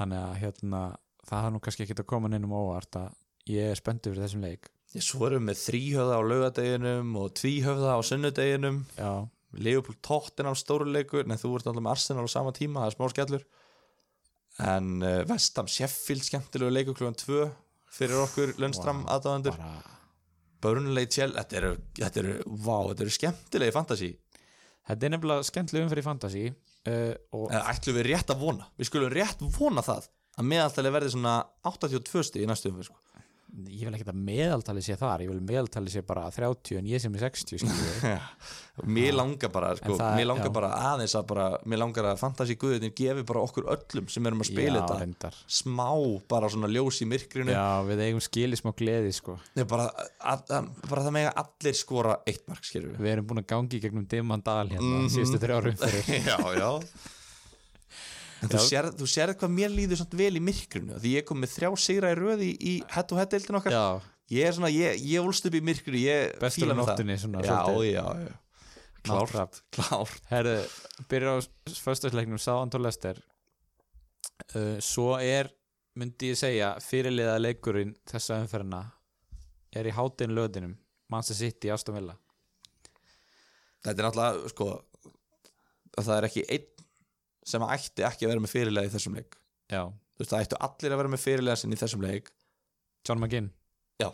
þannig að hérna það hafði nú kannski ekki að koma neinum á óvart að ég er spenntur fyrir þessum leik
Ég svo erum við með þríhöfða á laugadeginum og tvíhöfða á sunnudeginum
já,
Leopold tóttin á stóruleikur Nei, þú ert alltaf með Arsenal á sama tíma Það er smá skellur En uh, Vestam Sheffield skemmtilegu leikur klukkan 2 Fyrir okkur Lundstram wow, aðdáðandur
bara
Börnulegi tjel, þetta eru, þetta eru, vá, þetta eru skemmtilegi fantasi
þetta er nefnilega skemmtileg umfyrir fantasi uh, og
Ætlum við rétt að vona, við skulum rétt vona það Að meðaltali verði svona 82 stig í næstu umfyrir sko.
ég vil ekki að meðaltali sé þar ég vil meðaltali sé bara 30 en ég sem er 60 skilurðu.
Mér langar bara, sko,
En það-
mér langar
já.
bara aðeins að bara Mér langar að fantasi guðutin gefi bara okkur öllum sem erum að spila
já,
þetta
reyndar
Smá, bara svona ljós í myrkrinu
já, við eigum skili smá gleði sko
Nei, bara, að, að, bara það mega allir skora eitt mark, skilur við.
við erum búin að gangi í gegnum dimman dal hérna síðustu þrjáru umfyrir
Mhm. já, já. En þú
Já.
sérð, þú sérð hvað mér líður samt vel í myrkrinu, því ég kom með þrjá sigra í röði í hett og hett deildin okkar.
já,
Ég er svona, ég, ég úlst upp í myrkrinu, ég
Bestur á
fíla með um það.
nóttunni, svona,
Já,
svolítið.
já, já. Klárt,
Náttdrap.
klárt.
Herðu, byrjar á föstasleiknum Sáðantó Lester uh, Svo er, myndi ég segja fyrirliða leikurinn þessa umferðina er í hátinn löðinum Manchester City, Aston Villa
Þetta er náttúrulega, sko, að það er ekki einn sem ætti ekki að vera með fyrirlega í þessum leik.
Já,
Þú veist, það ættu allir að vera með fyrirlega sinni í þessum leik
John McGinn
Já,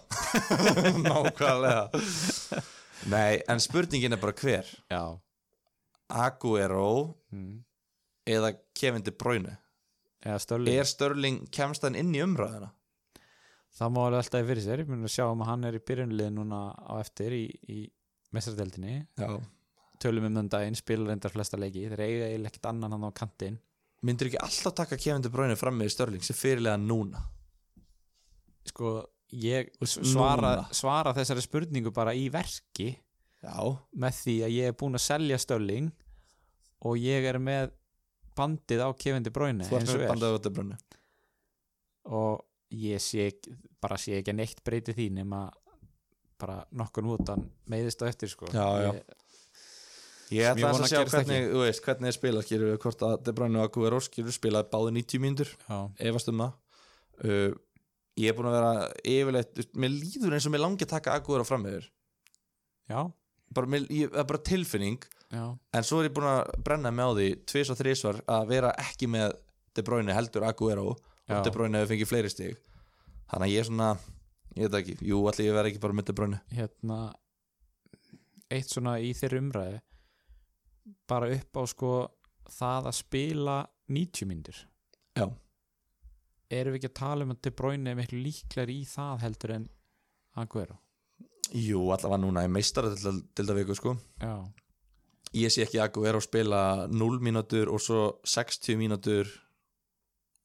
nákvæmlega Nei, en spurningin er bara hver
Já,
Aguero
mm.
eða Kevin De Bruyne
eða Störling
Er Störling, kemst hann inn í umræðina?
Það má alveg alltaf fyrir sér, ég mun að sjá um að hann er í byrjunlið núna á eftir í, í mestradeldinni,
Já
tölum um þann daginn spilar reyndar flesta leiki, þeir eiga eiginlega ekkert annan hann á kantinn
Myndir ekki alltaf taka Kevin De Bruyne fram með Störling sem fyrirlega núna?
Sko, ég
s-
svara,
núna.
svara þessari spurningu bara í verki
Já
með því að ég er búinn að selja Stölling og ég er með bandið á Kevin De Bruyne
Þú
eins
ert
og
með
er
bandað á De Bruyne
og ég sé ekki, bara sé ekki að neitt breyti því nema bara nokkur nútan meiðist á eftir sko
Já, já.
Ég,
Ég ætla
vona
þess að
að
sjá
gerist
hvernig, þú veist, hvernig þeir spila skilur við hvort að De Bruyne og Aguero skilur spilaði báði 90 mínútur
já,
efast um það uh, Ég er búin að vera yfirleitt, þú veist, mér líður eins og mér langi að taka Aguero fram með þér
já,
bara, mér, ég, það er bara tilfinning
já.
en svo er ég búin að brenna með á því tvis og þrísvar að vera ekki með De Bruyne heldur Aguero og
Já.
De Bruyne hefur fengið fleiri stig þannig að ég er svona, ég veit það ekki jú, allir ég verð ekki bara með De Bruyne
hérna eitt svona í þeirri umræði bara upp á sko það að spila 90 myndir
Já.
erum við ekki að tala um að De Bruyne er miklu líklar í það heldur en Aguero
jú, allavega núna í meistara til það viku sko
já,
ég sé ekki Aguero spila 0 mínútur og svo 60 mínútur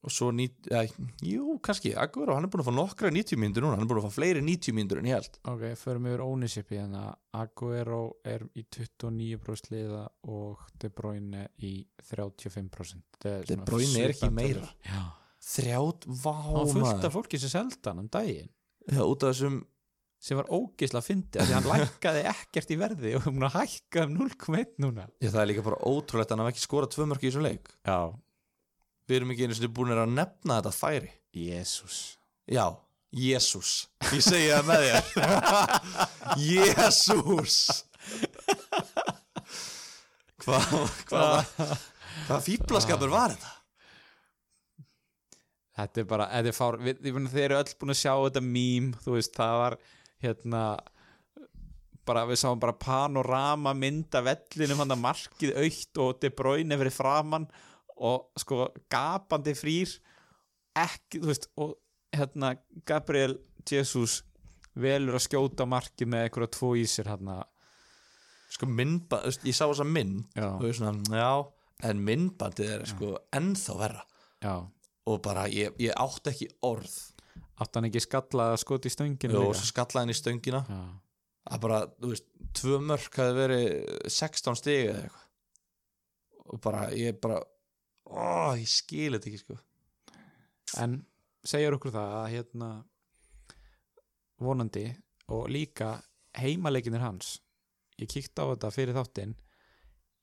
og svo ní, ja, jú, kannski, Aguero, hann er búin að fá nokkra 90 mínútur núna, hann er búin að fá fleiri 90 mínútur en ég held
ok, förum yfir ownershipi þannig að Aguero er í 29% liða og De Bruyne í 35% Það er
De
svona
Bruyne er ekki
svipaðar
meira.
tölur. já,
þrjátt, vá
það var fullt
maður.
af fólki sem seldi hann um daginn
Já, út af þessum
sem var ógisla að fyndi því hann lækkaði ekkert í verði og hún að hækka um 0,1 núna
Já, það er líka bara ótrúlegt að hann hafi ekki skorað tvö mörg í þessum leik.
já,
Við erum ekki einu sinni búin að nefna þetta færi.
jésús
Já, Jésús. Ég segi það með þér. Jésús. Hvað hva, hva, hva fýblaskapur var þetta?
þetta er bara, þetta er fár við, ég meina, þeir eru öll búin að sjá þetta mím þú veist, það var hérna bara, við sáum bara panorama mynda vellinum hann að markið aukt og De Bruyne verið framann og sko gapandi frýr ekki, þú veist og hérna Gabriel Jesus velur að skjóta á markið með einhverja tvo í sér hérna
Sko myndband, þú veist, ég sá þessa mynd
Já.
og ég er svona, já, en myndbandið er sko ennþá verra
já,
og bara ég, ég átti ekki orð
átt hann ekki skallað að skota í stönginu
og
líka?
svo skallaði henni í stöngina
já,
að bara, þú veist, tvö mörk hafi verið 16 stig eða eitthvað og bara, ég bara ó, ég skil þetta ekki sko
en segjar okkur það að hérna vonandi og líka heimaleikinu hans ég kíkti á þetta fyrir þáttinn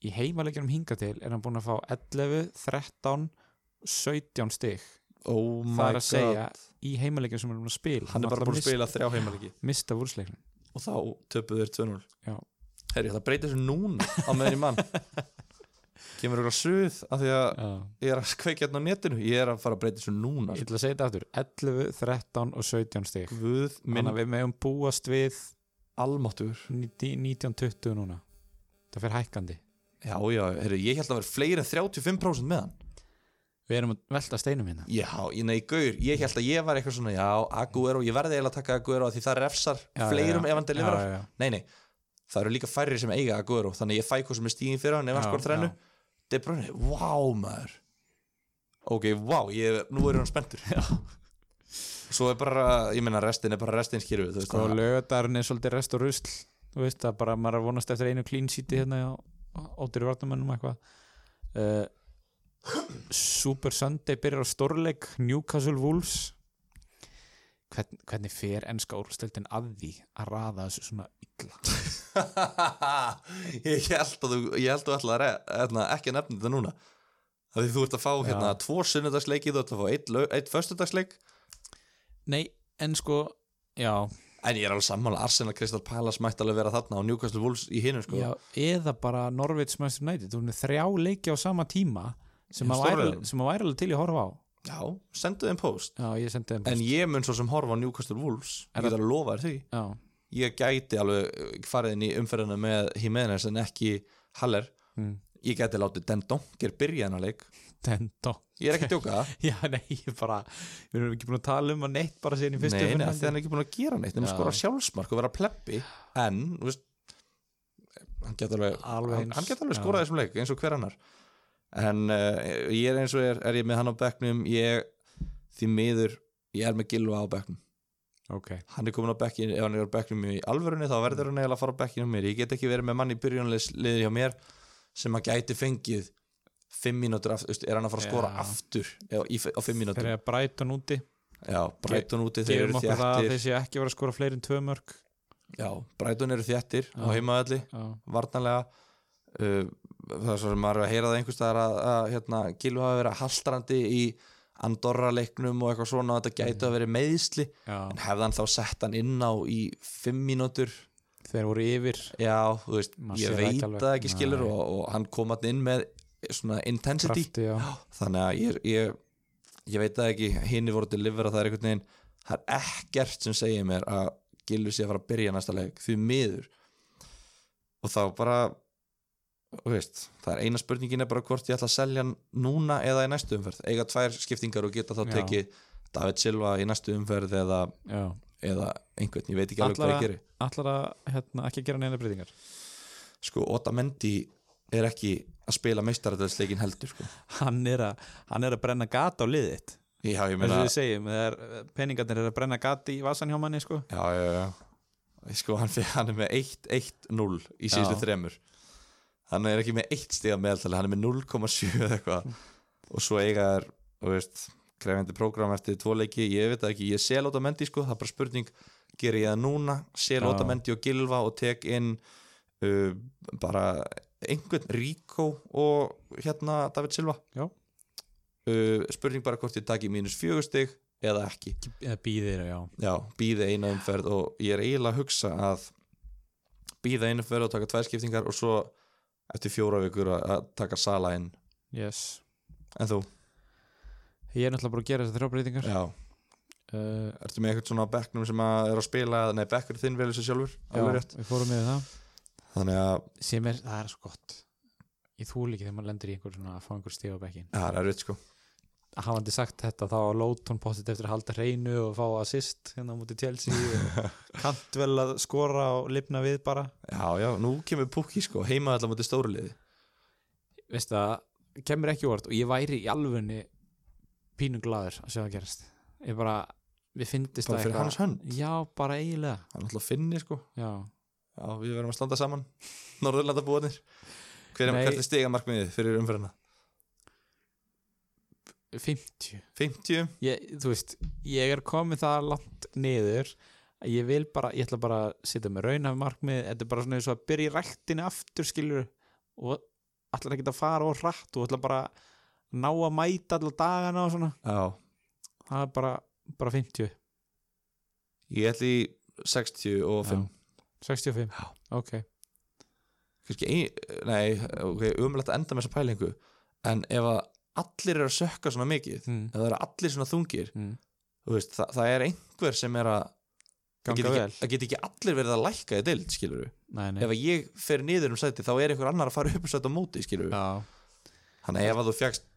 í heimaleikjunum hinga til er hann búin að fá 11, 13 17 stig
oh
það er að segja í heimaleikjunum sem hann er búin að spila
hann er bara búin að spila þrjá heimalegi
mista úrsleiknum
og þá töpuðu þeir 2-0
Já.
herri, það breytir þessu núna á meðin í mann kemur okkur að suð af því að
ég
ég er að kveikja hérna á netinu ég er að fara að breyta þessu núna
ætla að segja þetta aftur 11, 13 og 17 stig
Guð minn
þannig að við meðum búast við
almáttur
19-20 núna það fer hækkandi
já, já, herri, ég held að vera fleiri en 35% með hann
við erum að velta steinum hérna
já, ég, nei, gaur, ég held að ég var eitthvað svona já, Aguero, ég verði eiginlega að taka Aguero af því það refsar
Já,
fleirum
já,
ef hann deliverar
já, já, já.
nei, nei, það eru líka færri sem eiga Aguero þannig að ég fæ hvað sem er stíðin fyrir hann ef hann
Já,
skor þrennu
já.
De Bruyne, wow maður ok, wow, ég, nú er hann spenntur svo er bara, ég meina restin er bara restin skýrfi þú veist
sko
það
lögadarinn er svolítið rest og rusl þú veist það bara maður er að vonast eftir einu clean sheeti hérna á óttir vartamönnum eitthvað uh, Super Sunday byrjar á stórleik Newcastle Wolves Hvern, hvernig fer ennska úrstöldin að því að raða þessu svona illa
ég held að þú, ég held að þú ætla að ekki að nefna þetta núna af því þú ert að fá hérna tvo sunnudagsleiki þú ert að fá eitt, lau- eitt föstudagsleik
nei en sko já,
en ég er alveg sammála, Arsenal Crystal Palace mætti alveg vera þarna og Newcastle Wolves í hinu sko.
já eða bara Norvits Manchester United þú erum með þrjá leiki á sama tíma sem
Já,
að væri,
stórleikum.
sem að væri alveg til í að horfa á
já sendu þeim post
já ég sendi þeim
En ég mun svo sem horfa á Newcastle Wolves
Er
Ég get að lofa þér því
já,
Ég gæti alveg uh, farið inn í umferðina með Jimenez en ekki Haller
Mm.
Ég gæti látið Den Donker byrja hennar leik
tendó
Ég er ekki að djóka það
Já, nei, ég bara Við erum ekki búin að tala um að neitt bara síðan í fyrstu
Nei, nei,
umferð,
af því hann er ekki búin að gera neitt Nefnum
Já.
skora sjálfsmark og vera pleppi En, þú veist Hann gæti alveg,
Alveg
hann,
eins,
hann gæti alveg
já.
skorað í þessum leik eins og hver annar En uh, ég er eins og er, er ég með hann á bekknum Ég, því miður Ég er með Gilva á bekknum
Ok,
hann er komin á bekkin ef hann er á bekkinu í alvörunni þá verður hann eiginlega að fara á bekkinu hjá mér ég get ekki verið með mann í byrjunliðið hjá mér sem hann gæti fengið fimm mínútur aftur, veist, er hann að fara að skora
Já.
aftur já, í, á fimm
þeir
mínútur
eru að bræta hann úti
já, Brighton úti, þeir
Gefum
eru
okkur það að
þjættir
þeir séu ekki að vera að skora fleiri en tvö mörg
já, Brighton eru þjættir á
Já.
heimaðalli,
Já,
varnarlega uh, það er svo sem maður er að heyra það einhverstaðar að, að hérna, Gilvi hafa verið haldrandi í Andorra leiknum og eitthvað svona þetta gæti að verið meðsli
Mhm. já
en hefði hann þá sett hann inn á í fimm mínútur
Þeir voru yfir
Já, þú veist,
Maður sér
ég
það
veit
ekki
að
alveg.
það ekki skilur
Nei.
og, og hann kom hann inn með svona intensity
krafti já.
þannig að ég, ég, ég veit það ekki hinn voru til livera það er einhvern veginn það er ekkert sem segir mér að Gilvi sé að fara að byrja næsta leik því miður og þá bara þú veist, það er eina spurningin er bara hvort ég ætla að selja hann núna eða í næstu umferð eiga tvær skiptingar og geta þá
Já.
tekið David Silva í næstu umferð eða,
já
eða einhvern, ég veit ekki alveg hvað
Allar
ég
að,
geri
allar að hérna, ekki gera neina breytingar
sko, Otamendi er ekki að spila meistaradelsleikin heldur sko.
hann er, að, hann er að brenna gata á liðið
já, ég
Þess
meina
að við segjum, það er, peningarnir er að brenna gata í vasan hjá manni sko.
já, já, já. Sko, hann, fer- hann er með 1-1-0 í síðustu
Já.
þremur hann er ekki með 1 stiga meðaltali hann er með 0,7 eða eitthvað og svo eiga er, þú veist krefjandi prógram eftir tvo leiki, ég veit það ekki ég sel Otamendi sko, það er bara spurning gerir ég það núna, sel
Já.
Otamendi og Gilva og tek inn uh, bara einhvern Ríkó og hérna David Silva
Já.
uh, spurning bara hvort ég taki mínus fjögur stig eða ekki
eða býðir, já
já, býði eina umferð og ég er eiginlega að hugsa að býða eina umferð og taka tvær skiptingar og svo eftir fjóra vikur að- að taka sala inn
yes.
en þú,
Ég er náttúrulega bara að gera þessar þrjá breytingar
já,
uh,
ertu með eitthvað svona á bekknum sem að er að spila, eða- nei bekkur þinn velur sér sjálfur, alveg
já,
rétt
Við fórum með það
þannig að
sem er, það er svo gott ég þúl ekki þegar maður lendir í einhver svona að fá einhver stíð á bekkin
ja, það er rétt sko
að hafandi sagt þetta þá lót hún pottit eftir að halda hreinu og fá assist hérna á múti Chelsea og kant vel að skora og lifna við bara
já, já, nú kemur Pukki sko, heima allar mútið stóruliði
veist það, kemur ekki úr og ég væri í alvunni pínum gladur að sjá það gerast ég bara, við fyndist
bara
það
fyrir hans hönd,
já, bara eiginlega
hann alltaf finni sko
já.
já, við verðum að standa saman Norðurlandabúanir hver er
Nei.
hvernig stiga markmiðið fyrir umferðina?
50
50?
ég, þú veist, ég er komið það langt niður að ég vil bara, ég ætla bara að sitja með raunhafi markmið, þetta er bara svona eins og að byrja í ræktinu aftur skilur og ætlar ekki að fara og rætt og ætla bara að ná að mæta allar dagana og svona,
Já,
það er bara, bara 50,
ég ætli í 60 og 5
65
Já.
ok,
kannski ein, nei, okay, umlætt að enda með þessa pælingu en ef að allir eru að sökka svona mikið
mm.
ef það eru allir svona þungir
Mm.
þú veist, það, það er einhver sem er að það
ganga
geta
vel
ekki, það geta ekki allir verið að lækka í deild skilur við,
nei, nei.
ef að ég fer niður um sæti þá er einhver annar að fara upp um sæti á móti skilur við,
Já.
þannig að ef að þú fegst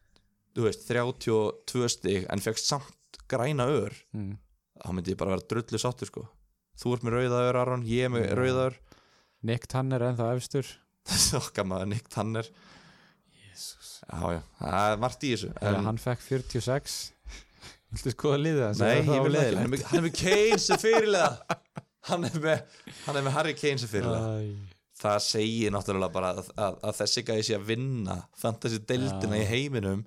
þú veist, 32 stig en fegst samt græna ör
Mm.
þá myndi ég bara vera drullu sáttur sko þú ert með rauðaður Aron, ég er með
Já.
rauðaður
Nick Tanner ennþá efstur
Sokka maður Nick Tanner
Jesus.
Já, já, það er margt í þessu en,
hann fekk 46 viltu skoða liðið hans?
Nei,
Er
ég
það á
vil ekki
leiðinni?
Hann er með- hann er með Kane sem fyrirlega hann er, með, hann er með Harry Kane sem fyrirlega
Æ.
Það segir náttúrulega bara að, að, að þessi gæði sé að vinna fantasy deildina
Já.
í heiminum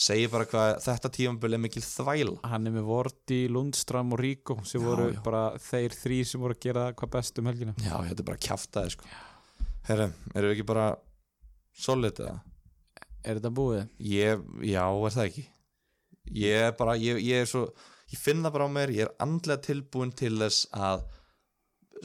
segir bara hvað þetta tímambil er mikil þvæla
hann er með Vorti, Lundstram og Ríko sem
Já,
voru
já.
bara þeir þrý sem voru að gera hvað best um helgina
Já, þetta er bara kjaftaði sko Herre, erum við ekki bara solid eða?
er þetta búið?
Ég, já, er það ekki Ég er bara, ég, ég er svo Ég finn það bara á mér, ég er andlega tilbúin til þess að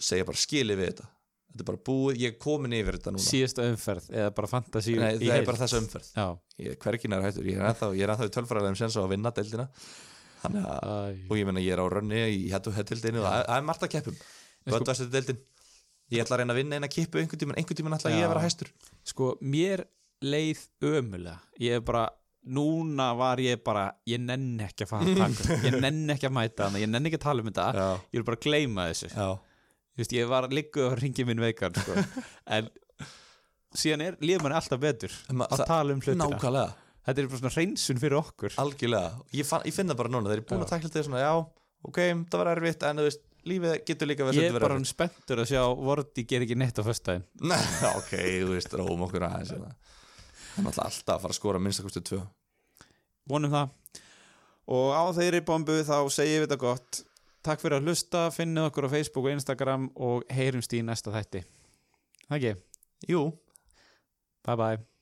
segja bara skili við þetta Þetta er bara búið, ég er komin yfir þetta núna
síðasta umferð eða bara fantasíu
Nei,
í
það er
heild?
bara þessa umferð
já,
Ég er hvergin er hættur, ég er ennþá, ég er ennþá í tölfræðilegum séns á að vinna deildina Þannig að,
Æ.
og ég meina ég er á rönni í hættu hættildinu og það það er margt að keppum
sko-
Vöndvæstu deildin Ég ætla að reyna að vinna eina kippu einhvern tímann, einhvern tímann ætla ég að
Já.
vera hæstur
sko, mér leið ömulega ég er bara, núna var ég bara ég nenni ekki að fara að taka ég nenni ekki að mæta hana, ég nenni ekki að tala um þetta
Já,
ég vil bara gleyma þessu
já,
Þú veist, ég var líkuð að ringi minn veikan sko. en síðan er líður manni alltaf betur
En ma-
að
það-
tala um hlutina
nákvæmlega
þetta er bara svona reynsun fyrir okkur
algjörlega, ég, fann, ég finn það bara núna þegar ég er búin
Já.
að tækla þetta svona, já ok, það var erfitt, en þú veist, lífið getur líka verið
ég er
stundum
bara
verið
hann spenntur að sjá Vorti ger ekki neitt á föstudaginn
erfitt. Nei, ok, þú veist, róm okkur aðeins hérna. hann ætla alltaf að fara að skora minnstakosti tvö,
vonum það og á þeirri bombu þá segjum við þetta gott takk fyrir að hlusta, finnið okkur á Facebook og Instagram og heyrumst í næsta þætti Það ekki,
jú
bye bye